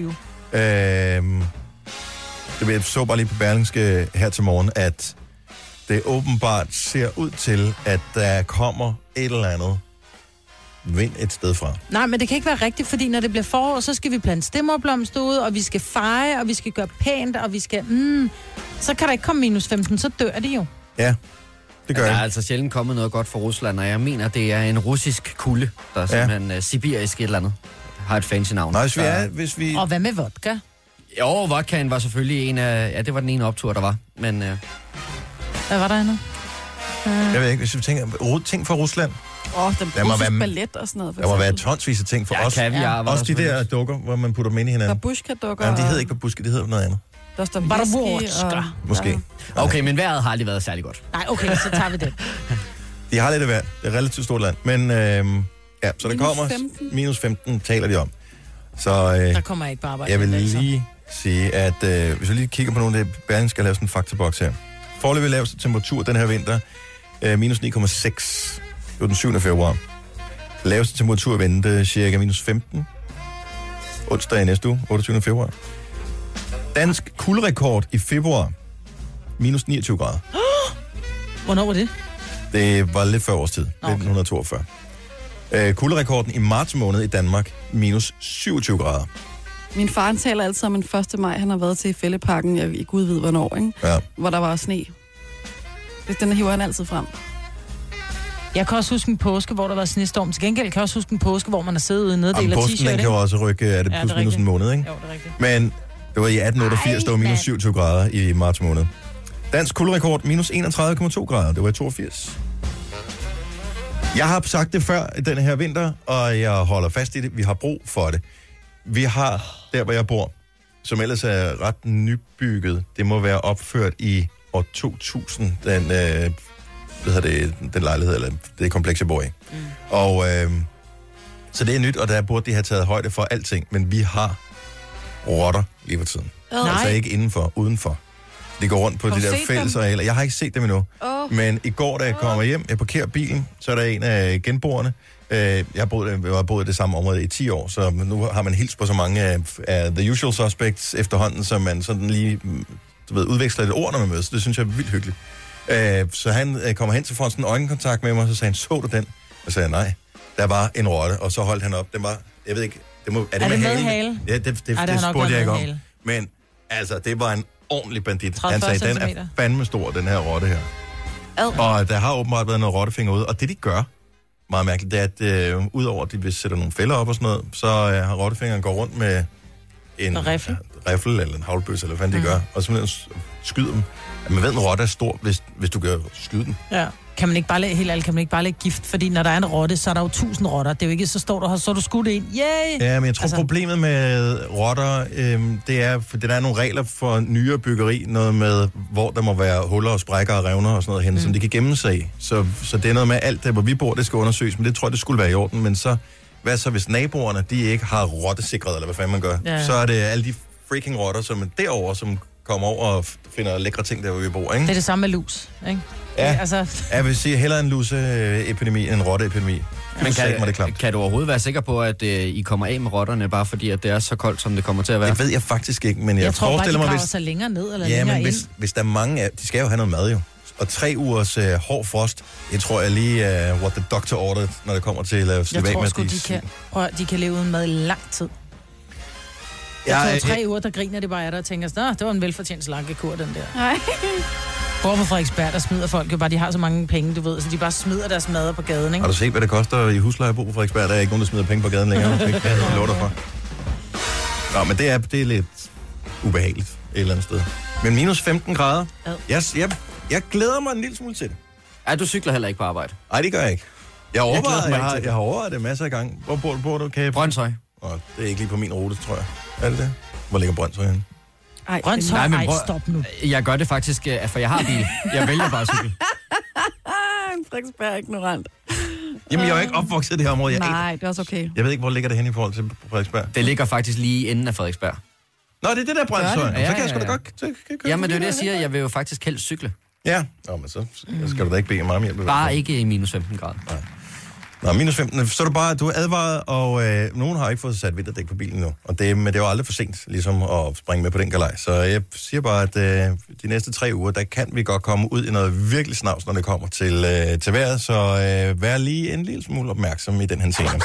[SPEAKER 3] at lyve.
[SPEAKER 1] Øhm, det jeg så bare lige på Berlingske her til morgen, at det åbenbart ser ud til, at der kommer et eller andet vind et sted fra.
[SPEAKER 3] Nej, men det kan ikke være rigtigt, fordi når det bliver forår, så skal vi plante stemmerblomster ud, og vi skal feje, og vi skal gøre pænt, og vi skal... Mm, så kan der ikke komme minus 15, så dør det jo.
[SPEAKER 1] Ja, det gør
[SPEAKER 4] Der er altså sjældent kommet noget godt fra Rusland, og jeg mener, det er en russisk kulde, der er simpelthen ja. sibirisk et eller andet. Har et fancy navn.
[SPEAKER 1] Nå, hvis vi
[SPEAKER 4] Der-
[SPEAKER 1] er, hvis vi...
[SPEAKER 3] Og hvad med vodka?
[SPEAKER 4] Jo, vodkaen var selvfølgelig en af... Ja, det var den ene optur, der var. Men øh,
[SPEAKER 3] Hvad var der endnu?
[SPEAKER 1] Jeg ved ikke, hvis vi tænker... ru- Ting fra Rusland.
[SPEAKER 2] Åh, oh, den
[SPEAKER 1] Der må
[SPEAKER 2] russisk
[SPEAKER 1] være-
[SPEAKER 2] ballet og sådan noget. for
[SPEAKER 1] Der må være
[SPEAKER 2] eksempel.
[SPEAKER 1] tonsvis af ting for
[SPEAKER 4] Ja,
[SPEAKER 1] os.
[SPEAKER 4] kaviar var der
[SPEAKER 1] Også de
[SPEAKER 4] selvfølgelig
[SPEAKER 1] der dukker, hvor man putter dem ind i hinanden.
[SPEAKER 2] Babushka-dukker.
[SPEAKER 1] Jamen, de hedder ikke babuske, det hedder noget andet.
[SPEAKER 2] Der står
[SPEAKER 3] Barborska.
[SPEAKER 2] whisky og...
[SPEAKER 1] Måske.
[SPEAKER 4] Okay, men vejret har aldrig været særlig godt.
[SPEAKER 3] Nej, okay, så tager vi det.
[SPEAKER 1] De har lidt af hvert. Det er et relativt stort land. Men øhm, ja, så der
[SPEAKER 3] Minus
[SPEAKER 1] kommer...
[SPEAKER 3] 15.
[SPEAKER 1] Minus 15 taler de om. Så øh,
[SPEAKER 3] Der kommer jeg ikke på arbejde.
[SPEAKER 1] jeg vil
[SPEAKER 3] i dag, så.
[SPEAKER 1] lige sige, at øh, hvis vi lige kigger på nogle af det, Berling skal lave sådan en faktaboks her. Forløbig laveste temperatur den her vinter, øh, minus 9,6. Det var den 7. februar. Laveste temperatur i vente cirka minus 15. Onsdag i næste uge, 28. februar. Dansk kuldrekord i februar, minus 29 grader.
[SPEAKER 3] Hvornår var det?
[SPEAKER 1] Det var lidt før vores tid,
[SPEAKER 3] okay.
[SPEAKER 1] 1942. Øh, kulderekorden i marts måned i Danmark, minus 27 grader.
[SPEAKER 2] Min far han taler altid om en 1. maj, han har været til i Fælleparken, jeg, i Gud ved hvornår, ikke?
[SPEAKER 1] Ja.
[SPEAKER 2] hvor der var sne. Det- Den hiver han altid frem.
[SPEAKER 3] Jeg kan også huske en påske, hvor der var snestorm. Til gengæld kan jeg også huske en påske, hvor man har siddet ude i en neddel
[SPEAKER 1] Jamen,
[SPEAKER 3] af
[SPEAKER 1] posten
[SPEAKER 3] t-shirt.
[SPEAKER 1] den kan jo
[SPEAKER 3] ikke?
[SPEAKER 1] også rykke, er det
[SPEAKER 3] Ja, det er
[SPEAKER 1] plus minus en
[SPEAKER 3] rigtigt.
[SPEAKER 1] måned, ikke?
[SPEAKER 3] Jo, det er rigtigt.
[SPEAKER 1] Men det var i 1888, der var minus 27 grader i marts måned. Dansk kulderekord minus 31,2 grader, det var i 82. Jeg har sagt det før i den her vinter, og jeg holder fast i det. Vi har brug for det. Vi har, der hvor jeg bor, som ellers er ret nybygget, det må være opført i år 2000, den, øh, hvad hedder det, den lejlighed, eller det kompleks, jeg bor i. Mm. Og øh, så det er nyt, og der burde de have taget højde for alting, men vi har rotter lige for tiden.
[SPEAKER 2] Nej.
[SPEAKER 1] Altså ikke indenfor, udenfor. De går rundt på
[SPEAKER 2] Har
[SPEAKER 1] de
[SPEAKER 2] du
[SPEAKER 1] der
[SPEAKER 2] set
[SPEAKER 1] fællesarealer. Jeg har ikke set dem endnu.
[SPEAKER 2] Åh.
[SPEAKER 1] Men i går, da jeg kommer hjem, jeg parkerer bilen, så er der en af genboerne. Øh, Jeg har boet, jeg har boet i det samme område i 10 år, så nu har man hilst på så mange af, af The Usual Suspects efterhånden, så man sådan lige mm, du ved, udveksler et ord, når man mødes. Det synes jeg er vildt hyggeligt. Øh, Så han øh, kommer hen til får sådan en øjenkontakt med mig, og så sagde han, så du den? Og sagde jeg, nej. Der var en rotte, og så holdt han op. Den var, jeg ved ikke, det må, er det,
[SPEAKER 3] Er det med
[SPEAKER 1] halen?
[SPEAKER 3] hale?
[SPEAKER 1] Ja, det, det, det,
[SPEAKER 3] Ej, det
[SPEAKER 1] det
[SPEAKER 3] har nok
[SPEAKER 1] spurgte
[SPEAKER 3] været
[SPEAKER 1] jeg ikke
[SPEAKER 3] med
[SPEAKER 1] om.
[SPEAKER 3] hale.
[SPEAKER 1] Men altså, det var en ordentlig bandit.
[SPEAKER 3] 30-40
[SPEAKER 1] Han sagde, den er
[SPEAKER 3] centimeter.
[SPEAKER 1] fandme stor, den her rotte her.
[SPEAKER 2] Ad.
[SPEAKER 1] Og øh, der har åbenbart været noget rottefinger ude, og det de gør, meget mærkeligt, det er, at øh, udover at de vil sætte nogle fælder op og sådan noget, så øh, har rottefingeren gået rundt med en øh,
[SPEAKER 3] Og riffel.
[SPEAKER 1] riffel eller en havlbøs, eller hvad fanden de
[SPEAKER 3] Mhm.
[SPEAKER 1] gør, og simpelthen s- skyder dem. Ja, Man ved, en rotte er stor, hvis, hvis du gør skyde den.
[SPEAKER 3] Ja. Kan man ikke bare lægge, helt ærligt, kan man ikke bare lægge gift? Fordi når der er en rotte, så er der jo tusind rotter. Det er jo ikke, så står du her, så er du skudt ind. Yay!
[SPEAKER 1] Ja, men jeg tror, altså... problemet med rotter, øhm, det er, for der er nogle regler for nyere byggeri, noget med, hvor der må være huller og sprækker og revner og sådan noget hen, mm. som de kan gemme sig i. Så, så det er noget med alt det, hvor vi bor, det skal undersøges, men det tror jeg, det skulle være i orden. Men så, hvad så hvis naboerne, de ikke har rottesikret, eller hvad fanden man gør,
[SPEAKER 3] Ja.
[SPEAKER 1] ja. så er det alle de freaking rotter, som er derovre, som kommer over og f- finder lækre ting, der hvor vi bor, ikke?
[SPEAKER 3] Det er det samme med lus, ikke?
[SPEAKER 1] Ja.
[SPEAKER 3] Altså,
[SPEAKER 1] Jeg vil sige, hellere en luseepidemi end en rotteepidemi.
[SPEAKER 4] Men
[SPEAKER 1] Satme, det er
[SPEAKER 4] kan,
[SPEAKER 1] klamt.
[SPEAKER 4] kan du overhovedet være sikker på, at øh, I kommer af med rotterne, bare fordi at det er så koldt, som det kommer til at være? Det
[SPEAKER 1] ved jeg faktisk ikke, men
[SPEAKER 3] jeg, jeg tror bare, de graver sig længere ned eller
[SPEAKER 1] Ja,
[SPEAKER 3] længere
[SPEAKER 1] men
[SPEAKER 3] ind.
[SPEAKER 1] hvis, hvis der er mange af... De skal jo have noget mad, jo. Og tre ugers øh, hård frost, det tror jeg lige, uh, what the doctor ordered, når det kommer til at uh,
[SPEAKER 3] Jeg
[SPEAKER 1] slippe af
[SPEAKER 3] tror
[SPEAKER 1] med,
[SPEAKER 3] sgu,
[SPEAKER 1] at
[SPEAKER 3] de kan, prøv, at- de kan leve uden mad i lang tid. Jeg
[SPEAKER 1] Jeg,
[SPEAKER 3] tror,
[SPEAKER 1] jeg,
[SPEAKER 3] tre uger, der griner det bare af dig og tænker, "Nå, det var en velfortjent slankekur, den der.
[SPEAKER 2] Nej.
[SPEAKER 3] Hvor på Frederiksberg, der smider folk jo bare, de har så mange penge, du ved, så de bare smider deres mad på gaden, ikke?
[SPEAKER 1] har du set, hvad det koster i husleje at bo på Frederiksberg? Der er ikke nogen, der smider penge på gaden længere. Det kan jeg love dig for. Nå, men det er, det er lidt ubehageligt et eller andet sted. Men minus 15 grader.
[SPEAKER 3] Ad.
[SPEAKER 1] Jeg, jeg, jeg glæder mig en lille smule til det.
[SPEAKER 4] Ja, du cykler heller ikke på arbejde.
[SPEAKER 1] Nej, det gør jeg ikke. Jeg, overvejer,
[SPEAKER 4] glæder
[SPEAKER 1] jeg,
[SPEAKER 4] mig
[SPEAKER 1] jeg,
[SPEAKER 4] ikke
[SPEAKER 1] har,
[SPEAKER 4] til det.
[SPEAKER 1] jeg har overvejet det masser af gange. Hvor bor, bor du, Kæbe?
[SPEAKER 4] Brøndshøj.
[SPEAKER 1] Og det er ikke lige på min rute, tror jeg. Er det det? Hvor ligger Brøndshøj henne?
[SPEAKER 2] Ej,
[SPEAKER 4] Brøndshøj, Nej,
[SPEAKER 3] Nej, men
[SPEAKER 4] men
[SPEAKER 3] ej,
[SPEAKER 4] prøv-
[SPEAKER 3] stop nu.
[SPEAKER 4] Jeg gør det faktisk, øh, for jeg har bil. Jeg vælger bare at cykle.
[SPEAKER 2] Ah, en Frederiksberg er ignorant.
[SPEAKER 1] Jamen, jeg er jo
[SPEAKER 4] Øhm.
[SPEAKER 1] ikke opvokset i det her område. Jeg,
[SPEAKER 2] Nej, det er også okay.
[SPEAKER 1] jeg ved ikke, hvor ligger det hen i forhold til Frederiksberg.
[SPEAKER 4] Det ligger faktisk lige inden af Frederiksberg.
[SPEAKER 1] Nå, det er det der Brøndshøj.
[SPEAKER 4] Gør det?
[SPEAKER 1] Ja, så kan jeg sgu da
[SPEAKER 4] Ja, ja, ja.
[SPEAKER 1] godt så kan jeg køre
[SPEAKER 4] Jamen, det er
[SPEAKER 1] forbi
[SPEAKER 4] jo det, jeg
[SPEAKER 1] der.
[SPEAKER 4] siger. Jeg vil jo faktisk helst cykle.
[SPEAKER 1] Ja. Nå, men så skal du da ikke bede mig om hjælp. i hvert fald.
[SPEAKER 4] Bare ikke i minus 15 grader.
[SPEAKER 1] Nå, minus 15. Så er du bare, du er advaret, og øh, nogen har ikke fået sat vinterdæk på bilen nu. Og det, men det er jo aldrig for sent, ligesom at springe med på den galej. Så jeg siger bare, at øh, de næste tre uger, der kan vi godt komme ud i noget virkelig snavs, når det kommer til, øh, til vejret. Så øh, vær lige en lille smule opmærksom i den her scene.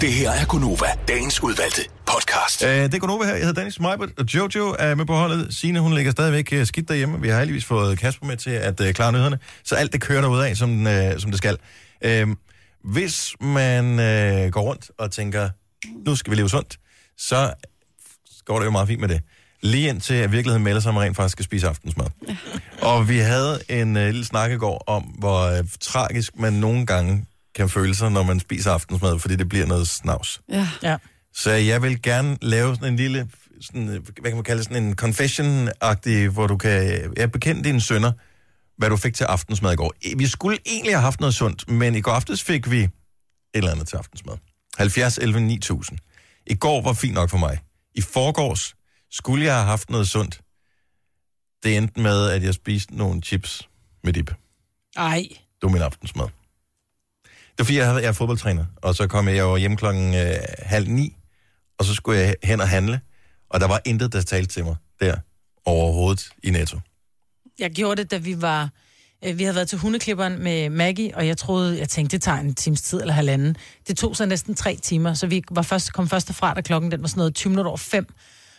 [SPEAKER 5] Det her er Gunova, dagens udvalgte podcast.
[SPEAKER 1] Øh, det er Gunova her. Jeg hedder Dennis Meibert, og Jojo er med på holdet. Signe, hun ligger stadigvæk øh, skidt derhjemme. Vi har heldigvis fået Kasper med til at øh, klare nyhederne. Så alt det kører derude af, som, øh, som det skal. Øh, hvis man øh, går rundt og tænker, nu skal vi leve sundt, så går det jo meget fint med det. Lige indtil at virkeligheden melder sig, at man rent faktisk skal spise aftensmad. Og vi havde en øh, lille snak i går om, hvor øh, tragisk man nogle gange kan føle sig, når man spiser aftensmad, fordi det bliver noget snavs.
[SPEAKER 2] Ja. ja.
[SPEAKER 1] Så jeg vil gerne lave sådan en lille, sådan, øh, hvad kan man kalde det, sådan en confession-agtig, hvor du kan ja, bekende dine sønner, hvad du fik til aftensmad i går. Eh, Vi skulle egentlig have haft noget sundt, men i går aftes fik vi et eller andet til aftensmad. 70, 11, 9000. I går var fint nok for mig. I forgårs skulle jeg have haft noget sundt. Det endte med, at jeg spiste nogle chips med dip.
[SPEAKER 3] Ej.
[SPEAKER 1] Det var min aftensmad. Det var fordi, jeg, havde, jeg er fodboldtræner, og så kom jeg jo hjem klokken øh, halv ni, og så skulle jeg hen og handle, og der var intet, der talte til mig der overhovedet i Netto.
[SPEAKER 3] Jeg gjorde det, da vi var... øh, Vi havde været til hundeklipperen med Maggie, og jeg troede, jeg tænkte, det tager en times tid eller halvanden. Det tog så næsten tre timer, så vi var først, kom først derfra, da klokken den var sådan noget 20 minutter over fem.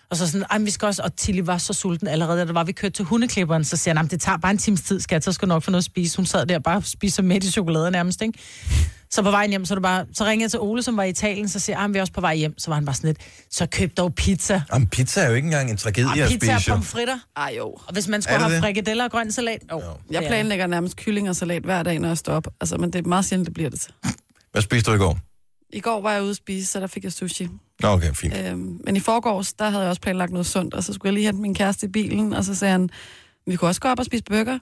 [SPEAKER 3] Og så sådan, "Ej, men vi skal også, og Tilly var så sulten allerede, da der var, vi kørte til hundeklipperen, så siger han, "Jamen, det tager bare en times tid, skat, så skal du nok få noget at spise. Hun sad der bare og spiste med i chokolade nærmest, ikke? Så på vejen hjem, så, er det bare, så ringede jeg til Ole, som var i Italien, så siger han, vi er også på vej hjem. Så var han bare sådan lidt, så køb dog pizza.
[SPEAKER 1] Jamen, pizza er jo ikke engang en tragedie at
[SPEAKER 3] Og
[SPEAKER 1] spise.
[SPEAKER 3] pizza og
[SPEAKER 1] jo.
[SPEAKER 3] pomfritter.
[SPEAKER 2] Ej, jo.
[SPEAKER 3] Og hvis man
[SPEAKER 1] Er
[SPEAKER 3] skulle
[SPEAKER 1] det
[SPEAKER 3] have
[SPEAKER 1] det?
[SPEAKER 3] frikadeller og grøn salat, oh,
[SPEAKER 2] Jeg planlægger nærmest kylling og salat hver dag, når jeg står op. Altså, men det er meget sjældent, det bliver det til.
[SPEAKER 1] Hvad spiste du i går?
[SPEAKER 2] I går var jeg ude at spise, så der fik jeg sushi.
[SPEAKER 1] Nå, okay, fint.
[SPEAKER 2] Øhm, men i forgårs, der havde jeg også planlagt noget sundt, og så skulle jeg lige hente min kæreste i bilen, og så sagde han, vi kunne også gå op og spise burger,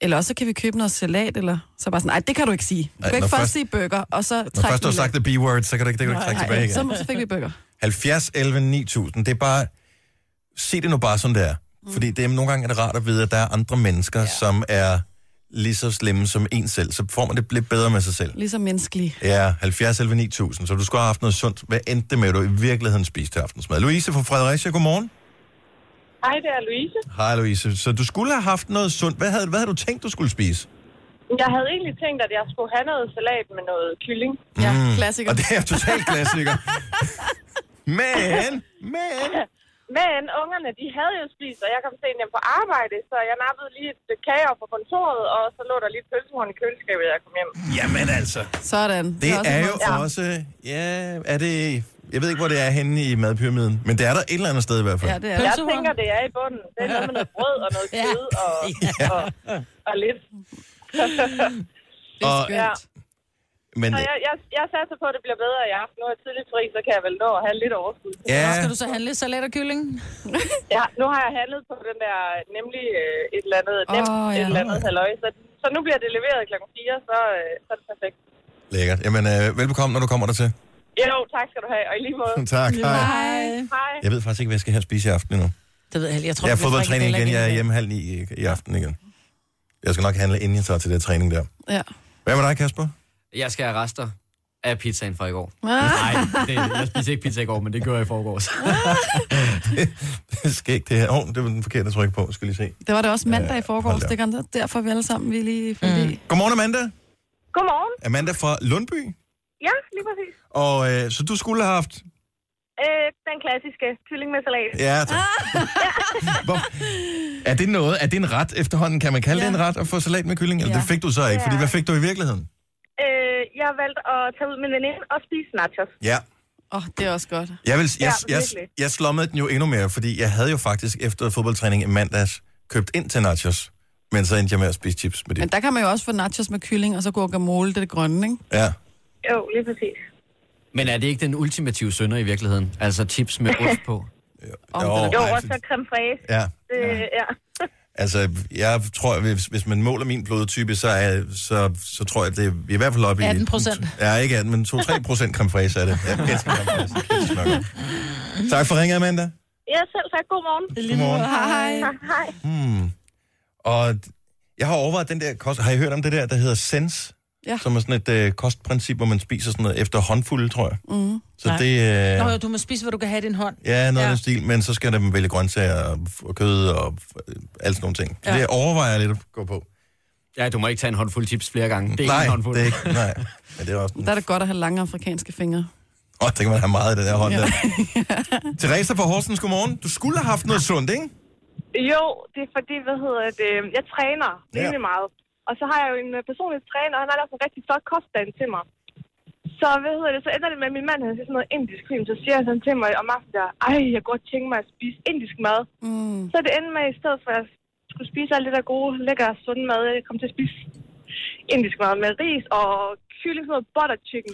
[SPEAKER 2] eller også så kan vi købe noget salat, eller så bare sådan, nej, det kan du ikke sige. Du
[SPEAKER 1] Ej,
[SPEAKER 2] kan ikke
[SPEAKER 1] når
[SPEAKER 2] først
[SPEAKER 1] først-
[SPEAKER 2] sige burger, og så
[SPEAKER 1] Når
[SPEAKER 2] trække
[SPEAKER 1] først du har sagt det B-word, så kan du ikke, det kan du ikke trække tilbage igen.
[SPEAKER 2] Så, så fik vi burger.
[SPEAKER 1] 70, 11, 9000. Det er bare... Se det nu bare, som det er. Fordi det er, nogle gange er det rart at vide, at der er andre mennesker, Mm. ja. som er lige så slemme som en selv. Så får man det lidt bedre med sig selv.
[SPEAKER 2] Ligesom menneskelige.
[SPEAKER 1] Ja, 70, 11, 9000. Så du skulle have haft noget sundt. Hvad endte det med, at du i virkeligheden spiste til aftensmad? Louise fra Fredericia, godmorgen.
[SPEAKER 9] Hej, det er Louise.
[SPEAKER 1] Hej Louise. Så du skulle have haft noget sundt. Hvad havde, hvad havde du tænkt, du skulle spise?
[SPEAKER 9] Jeg havde egentlig tænkt, at jeg skulle have noget salat med noget kylling.
[SPEAKER 1] Ja, mm.
[SPEAKER 2] klassiker.
[SPEAKER 1] Og det er totalt klassiker. Men... Men?
[SPEAKER 9] Men ungerne, de havde jo spist, og jeg kom sent hjem på arbejde, så jeg nappede lige et stykke kage op på kontoret, og så lå der lige et pølsehorn i køleskabet, da jeg kom hjem.
[SPEAKER 1] Jamen altså.
[SPEAKER 2] Sådan.
[SPEAKER 1] Det
[SPEAKER 2] også
[SPEAKER 1] er
[SPEAKER 2] en
[SPEAKER 1] jo
[SPEAKER 2] måde-
[SPEAKER 1] også... Ja, er det... Jeg ved ikke, hvor det er henne i madpyramiden, men det er der et eller andet sted i hvert fald.
[SPEAKER 2] Ja, det
[SPEAKER 9] er jeg tænker, det er i bunden. Det er noget med noget brød og noget kød og, og, og lidt.
[SPEAKER 1] Det er Og- skønt. Men,
[SPEAKER 9] så jeg, jeg, jeg satser på, at det bliver bedre i aften. Nu er jeg tidligt fri, så kan jeg vel nå at have lidt overskud.
[SPEAKER 1] Ja.
[SPEAKER 3] Skal du så handle salat og kylling?
[SPEAKER 9] ja, nu har jeg handlet på den der nemlig øh, et eller andet,
[SPEAKER 3] Åh,
[SPEAKER 9] nemt,
[SPEAKER 3] ja.
[SPEAKER 9] et eller andet halløj. Så, så nu bliver det leveret klokken 4, så, øh, så er det perfekt.
[SPEAKER 1] Lækkert. Jamen, øh, velbekomme, når du kommer dertil.
[SPEAKER 9] Jo, tak skal du have, og i lige måde.
[SPEAKER 1] Tak, hej.
[SPEAKER 9] Hej. Hej.
[SPEAKER 1] Jeg ved faktisk ikke, hvad jeg skal have at spise i aften endnu.
[SPEAKER 3] Det ved jeg, heller- jeg tror,
[SPEAKER 1] jeg har
[SPEAKER 3] det bliver
[SPEAKER 1] fodboldtræning igen.
[SPEAKER 3] frikadeller
[SPEAKER 1] Jeg er hjemme halv ni i, i aften igen. Jeg skal nok handle, inden jeg tager til det træning der.
[SPEAKER 2] Ja.
[SPEAKER 1] Hvad med dig, Kasper?
[SPEAKER 4] Jeg skal have rester af pizzaen fra i går.
[SPEAKER 2] Ah.
[SPEAKER 4] Nej, det, jeg spiser ikke pizza i går, men det gjorde jeg i forgårs.
[SPEAKER 1] Det er skægt, det her. Åh, oh, det var den forkerte tryk på. Skal lige se.
[SPEAKER 2] Det var det også mandag i forgårs,
[SPEAKER 1] hold da op.
[SPEAKER 2] det kan derfor vi alle sammen vi lige fik mm.
[SPEAKER 1] Godmorgen, Amanda.
[SPEAKER 9] Godmorgen.
[SPEAKER 1] Amanda fra Lundby.
[SPEAKER 9] Ja, lige præcis.
[SPEAKER 1] Og øh, så du skulle have haft...
[SPEAKER 9] Øh, den klassiske kylling med salat.
[SPEAKER 1] Ja, tak. Hvor... Er det noget? Er det en ret efterhånden? Kan man kalde ja. det en ret at få salat med kylling? Eller ja. det fik du så ikke, fordi hvad fik du i virkeligheden?
[SPEAKER 9] Øh, jeg har valgt at tage ud med en veninde og spise nachos.
[SPEAKER 1] Ja.
[SPEAKER 2] Åh, oh, det er også godt.
[SPEAKER 1] Jeg, vil, jeg,
[SPEAKER 9] Ja,
[SPEAKER 1] jeg, jeg,
[SPEAKER 9] virkelig.
[SPEAKER 1] jeg slommede den jo endnu mere, fordi jeg havde jo faktisk efter fodboldtræning i mandags købt ind til nachos, men så endte jeg med at spise chips med det.
[SPEAKER 2] Men der kan man jo også få nachos med kylling, og så guacamole, det er det grønne, ikke?
[SPEAKER 1] Ja.
[SPEAKER 9] Jo, lige præcis.
[SPEAKER 4] Men er det ikke den ultimative sønder i virkeligheden? Altså chips med ost på?
[SPEAKER 1] Om Jo, den er-
[SPEAKER 9] Jo,
[SPEAKER 1] ej,
[SPEAKER 9] og så creme fraise.
[SPEAKER 1] Ja.
[SPEAKER 9] Det, ja.
[SPEAKER 1] Altså, jeg tror, hvis, hvis man måler min blodtype, så, er, så, så tror jeg, det er i hvert fald op i...
[SPEAKER 3] 18%.
[SPEAKER 1] Ja, ikke 18, men 2-3 procent creme fraise er det. Jeg elsker creme fraise. Det er smager godt. Tak for ringen, Amanda.
[SPEAKER 9] ja, selv tak. Godmorgen.
[SPEAKER 1] Godmorgen.
[SPEAKER 2] Hej.
[SPEAKER 9] Hej.
[SPEAKER 1] Hmm. Og d- jeg har overvejet den der kost... Har I hørt om det der, der hedder Sense?
[SPEAKER 2] Ja.
[SPEAKER 1] som er sådan et øh, kostprincip, hvor man spiser sådan noget efter håndfulde, tror jeg.
[SPEAKER 3] Mm.
[SPEAKER 1] Så det, øh,
[SPEAKER 3] Nå jo, du må spise, hvad du kan have i din hånd.
[SPEAKER 1] Ja, noget ja. stil, men så skal der vælge grøntsager og, og kød og øh, alt sådan nogle ting. Ja.
[SPEAKER 3] Ja.
[SPEAKER 1] Det overvejer jeg lidt at gå på.
[SPEAKER 4] Ja, du må ikke tage en håndfuld chips flere gange. Det er
[SPEAKER 1] nej,
[SPEAKER 4] ikke en håndfuld.
[SPEAKER 1] det er ikke, nej. Men det er også...
[SPEAKER 2] Der er det godt at have lange afrikanske fingre.
[SPEAKER 1] Åh, oh, der kan man have meget af den der hånd ja. der. Teresa fra Horsens, godmorgen. Du skulle have haft noget sundt, ikke?
[SPEAKER 9] Jo, det er fordi, hvad hedder det, øhm, jeg træner rimelig meget. Og så har jeg jo en øh, personlig træner, og han har lavet en rigtig flot kostplan til mig. Så, hvad hedder det, så ender det med, at min mand havde sådan noget indisk film, så siger han sådan til mig om aftenen der, ej, jeg kunne godt tænke mig at spise indisk mad.
[SPEAKER 2] Mm.
[SPEAKER 9] Så det endte med, at i stedet for at jeg skulle spise alt det der gode, lækker, sunde mad, jeg kom til at spise indisk mad med ris og kylling, sådan noget butter chicken.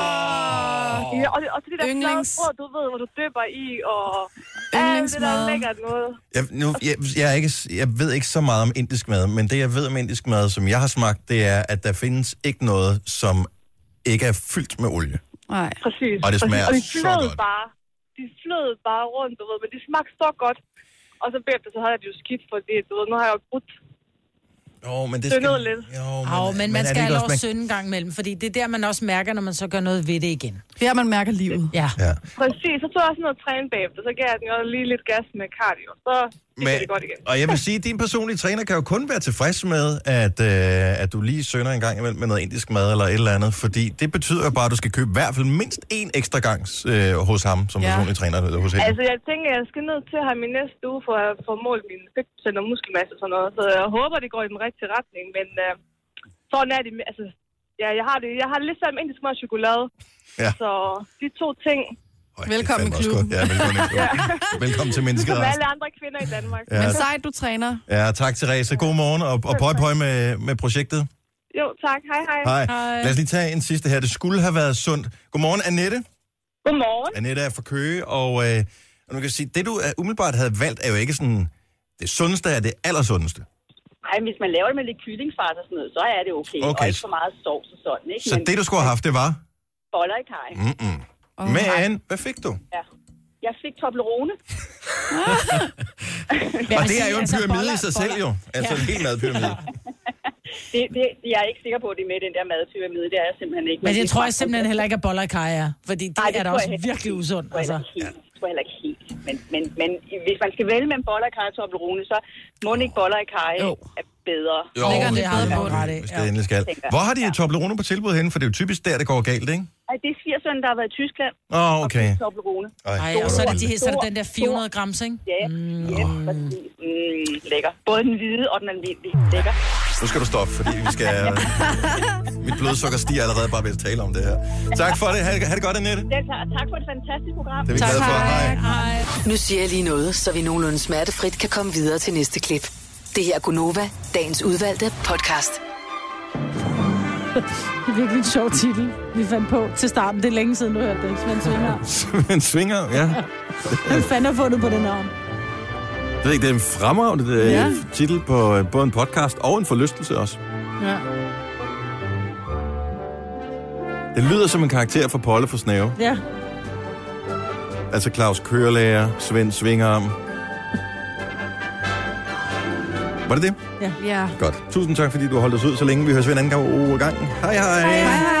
[SPEAKER 9] Oh. Ja, og, det, og så det der flade
[SPEAKER 2] Yndlings.
[SPEAKER 9] brød, du ved, hvor du døber i, og alt det der
[SPEAKER 2] Yndlingsmad.
[SPEAKER 9] lækkert noget.
[SPEAKER 1] Jeg, nu, jeg, jeg, er ikke, jeg ved ikke så meget om indisk mad, men det, jeg ved om indisk mad, som jeg har smagt, det er, at der findes ikke noget, som ikke er fyldt med olie.
[SPEAKER 2] Nej.
[SPEAKER 9] Præcis.
[SPEAKER 1] Og det smager
[SPEAKER 9] præcis. og de
[SPEAKER 1] så
[SPEAKER 9] flød
[SPEAKER 1] godt.
[SPEAKER 9] Bare, de flød bare rundt, du ved, men det smagte så godt. Og så bagefter, så havde jeg det jo skidt, fordi du ved, nu har jeg jo brudt
[SPEAKER 1] Jo, men det
[SPEAKER 9] det
[SPEAKER 1] skal...
[SPEAKER 9] noget lidt.
[SPEAKER 1] Jo,
[SPEAKER 3] Au, men, man
[SPEAKER 1] det
[SPEAKER 3] skal have
[SPEAKER 1] ikke
[SPEAKER 3] lov
[SPEAKER 1] også- man-
[SPEAKER 3] at synde en gang imellem, fordi det er der, man også mærker, når man så gør noget ved det igen.
[SPEAKER 2] Det er, man mærker livet.
[SPEAKER 3] Ja.
[SPEAKER 1] ja.
[SPEAKER 9] Præcis, så tog jeg også noget træne bagefter, så gav jeg den jo lige lidt gas med cardio. Så det
[SPEAKER 1] Men,
[SPEAKER 9] gik det godt igen.
[SPEAKER 1] og jeg vil sige, at din personlige træner kan jo kun være tilfreds med, at, øh, at du lige sønder en gang imellem med noget indisk mad eller et eller andet, fordi det betyder jo bare, at du skal købe i hvert fald mindst én ekstra gang øh, hos ham som
[SPEAKER 9] Ja.
[SPEAKER 1] ja. personlig træner. Eller hos hende.
[SPEAKER 9] Altså, jeg tænker, jeg skal ned til ham i næste uge for at få målt min fedtprocent og muskelmasse og sådan noget. Så jeg håber, det går i den rigtige retning, men øh, sådan er det. med- Altså, ja, jeg har det. Jeg har det lidt sammen indisk mad og chokolade.
[SPEAKER 1] Ja.
[SPEAKER 9] Så de to ting,
[SPEAKER 2] Velkommen i
[SPEAKER 1] fandme også
[SPEAKER 2] klubben.
[SPEAKER 1] godt. Ja, velkommen i klubben. velkommen til mennesket.
[SPEAKER 9] som
[SPEAKER 1] Anders.
[SPEAKER 9] alle andre kvinder i Danmark.
[SPEAKER 1] Ja. Men
[SPEAKER 2] sejt, du træner.
[SPEAKER 1] Ja, tak Therese. God morgen, og, og pøj pøj med, med projektet.
[SPEAKER 9] Jo, tak. Hej, hej.
[SPEAKER 1] Hej. Lad os lige tage en sidste her. Det skulle have været sundt. Godmorgen, Annette.
[SPEAKER 9] Godmorgen.
[SPEAKER 1] Annette er fra Køge, og, øh, og nu kan jeg sige, det du øh, umiddelbart havde valgt, er jo ikke sådan det sundeste af det allersundeste.
[SPEAKER 14] Ej, men hvis man laver det med lidt kyllingfars og sådan noget, så er det okay. okay. Og
[SPEAKER 1] Okay.
[SPEAKER 14] ikke for meget sovs og sådan, ikke?
[SPEAKER 1] Så det, du skulle have haft, det var...
[SPEAKER 14] Boller i kaj.
[SPEAKER 3] Mm.
[SPEAKER 1] Mm-mm. Men, hvad fik du?
[SPEAKER 14] Ja. Jeg fik Toblerone.
[SPEAKER 1] Og det er jo en pyramide i sig selv, jo. Altså en hel madpyramide.
[SPEAKER 14] Det, det, jeg er ikke sikker på, at det er med i den der madpyramide. Det er jeg simpelthen ikke.
[SPEAKER 3] Men det
[SPEAKER 14] er
[SPEAKER 3] tror jeg
[SPEAKER 14] faktisk-
[SPEAKER 3] simpelthen heller ikke, at boller i kaj er. Fordi det,
[SPEAKER 14] Nej,
[SPEAKER 3] er da
[SPEAKER 14] tror jeg
[SPEAKER 3] også
[SPEAKER 14] heller
[SPEAKER 3] virkelig
[SPEAKER 14] ikke.
[SPEAKER 3] usundt.
[SPEAKER 14] Det tror jeg
[SPEAKER 3] Altså.
[SPEAKER 14] heller ikke helt. Det tror jeg heller ikke helt. Men, men, men hvis man skal vælge mellem boller i kaj og Toblerone, så må ikke boller i kaj er bedre.
[SPEAKER 1] Jo, Lægger det bedre på det, hvis det endelig skal.
[SPEAKER 14] Tænker jeg.
[SPEAKER 1] Hvor har de Toblerone på tilbud henne? For det er jo typisk der, det går galt, ikke?
[SPEAKER 14] Ej, det er svigersønnen, der har været i Tyskland.
[SPEAKER 1] Åh,
[SPEAKER 14] og
[SPEAKER 1] okay.
[SPEAKER 14] købt Toblerone.
[SPEAKER 1] Ej,
[SPEAKER 3] Ej,
[SPEAKER 1] hvor
[SPEAKER 3] og så er
[SPEAKER 1] er
[SPEAKER 3] det,
[SPEAKER 1] det
[SPEAKER 3] de,
[SPEAKER 14] vildt.
[SPEAKER 3] så er det den der 400 grams, ikke?
[SPEAKER 14] Ja, ja, præcis. Mm, lækker. Både den hvide og den almindelige. Lækker.
[SPEAKER 1] Nu skal du stoppe, fordi vi skal... Mit blodsukker stiger allerede bare ved at tale om det her. Tak for det. Ha' det, ha det godt, Annette.
[SPEAKER 14] Den tager. Tak for et fantastisk program.
[SPEAKER 1] Det er vi glade for. Hej.
[SPEAKER 7] Nu siger jeg lige noget, så vi nogenlunde smertefrit kan komme videre til næste klip. Det her er Gunova, dagens udvalgte podcast.
[SPEAKER 3] Det er virkelig en sjov titel, vi fandt på til starten. Det er længe siden, du hørte det. Svend Svinger.
[SPEAKER 15] en svinger, ja.
[SPEAKER 3] Hvem fanden har fundet på den navn?
[SPEAKER 15] Jeg ved ikke, det er en fremragende øh,
[SPEAKER 3] Ja.
[SPEAKER 15] titel på øh, både en podcast og en forlystelse også.
[SPEAKER 3] Ja.
[SPEAKER 15] Det lyder som en karakter fra Polle for Snæve.
[SPEAKER 3] ja.
[SPEAKER 15] Altså Claus Kørelærer, Svend Svingerarm. Var det det?
[SPEAKER 3] Ja. ja.
[SPEAKER 15] Godt. Tusind tak, fordi du har holdt os ud så længe. Vi høres ved en anden gang. Oh, gang. Hej, hej. hej, hej.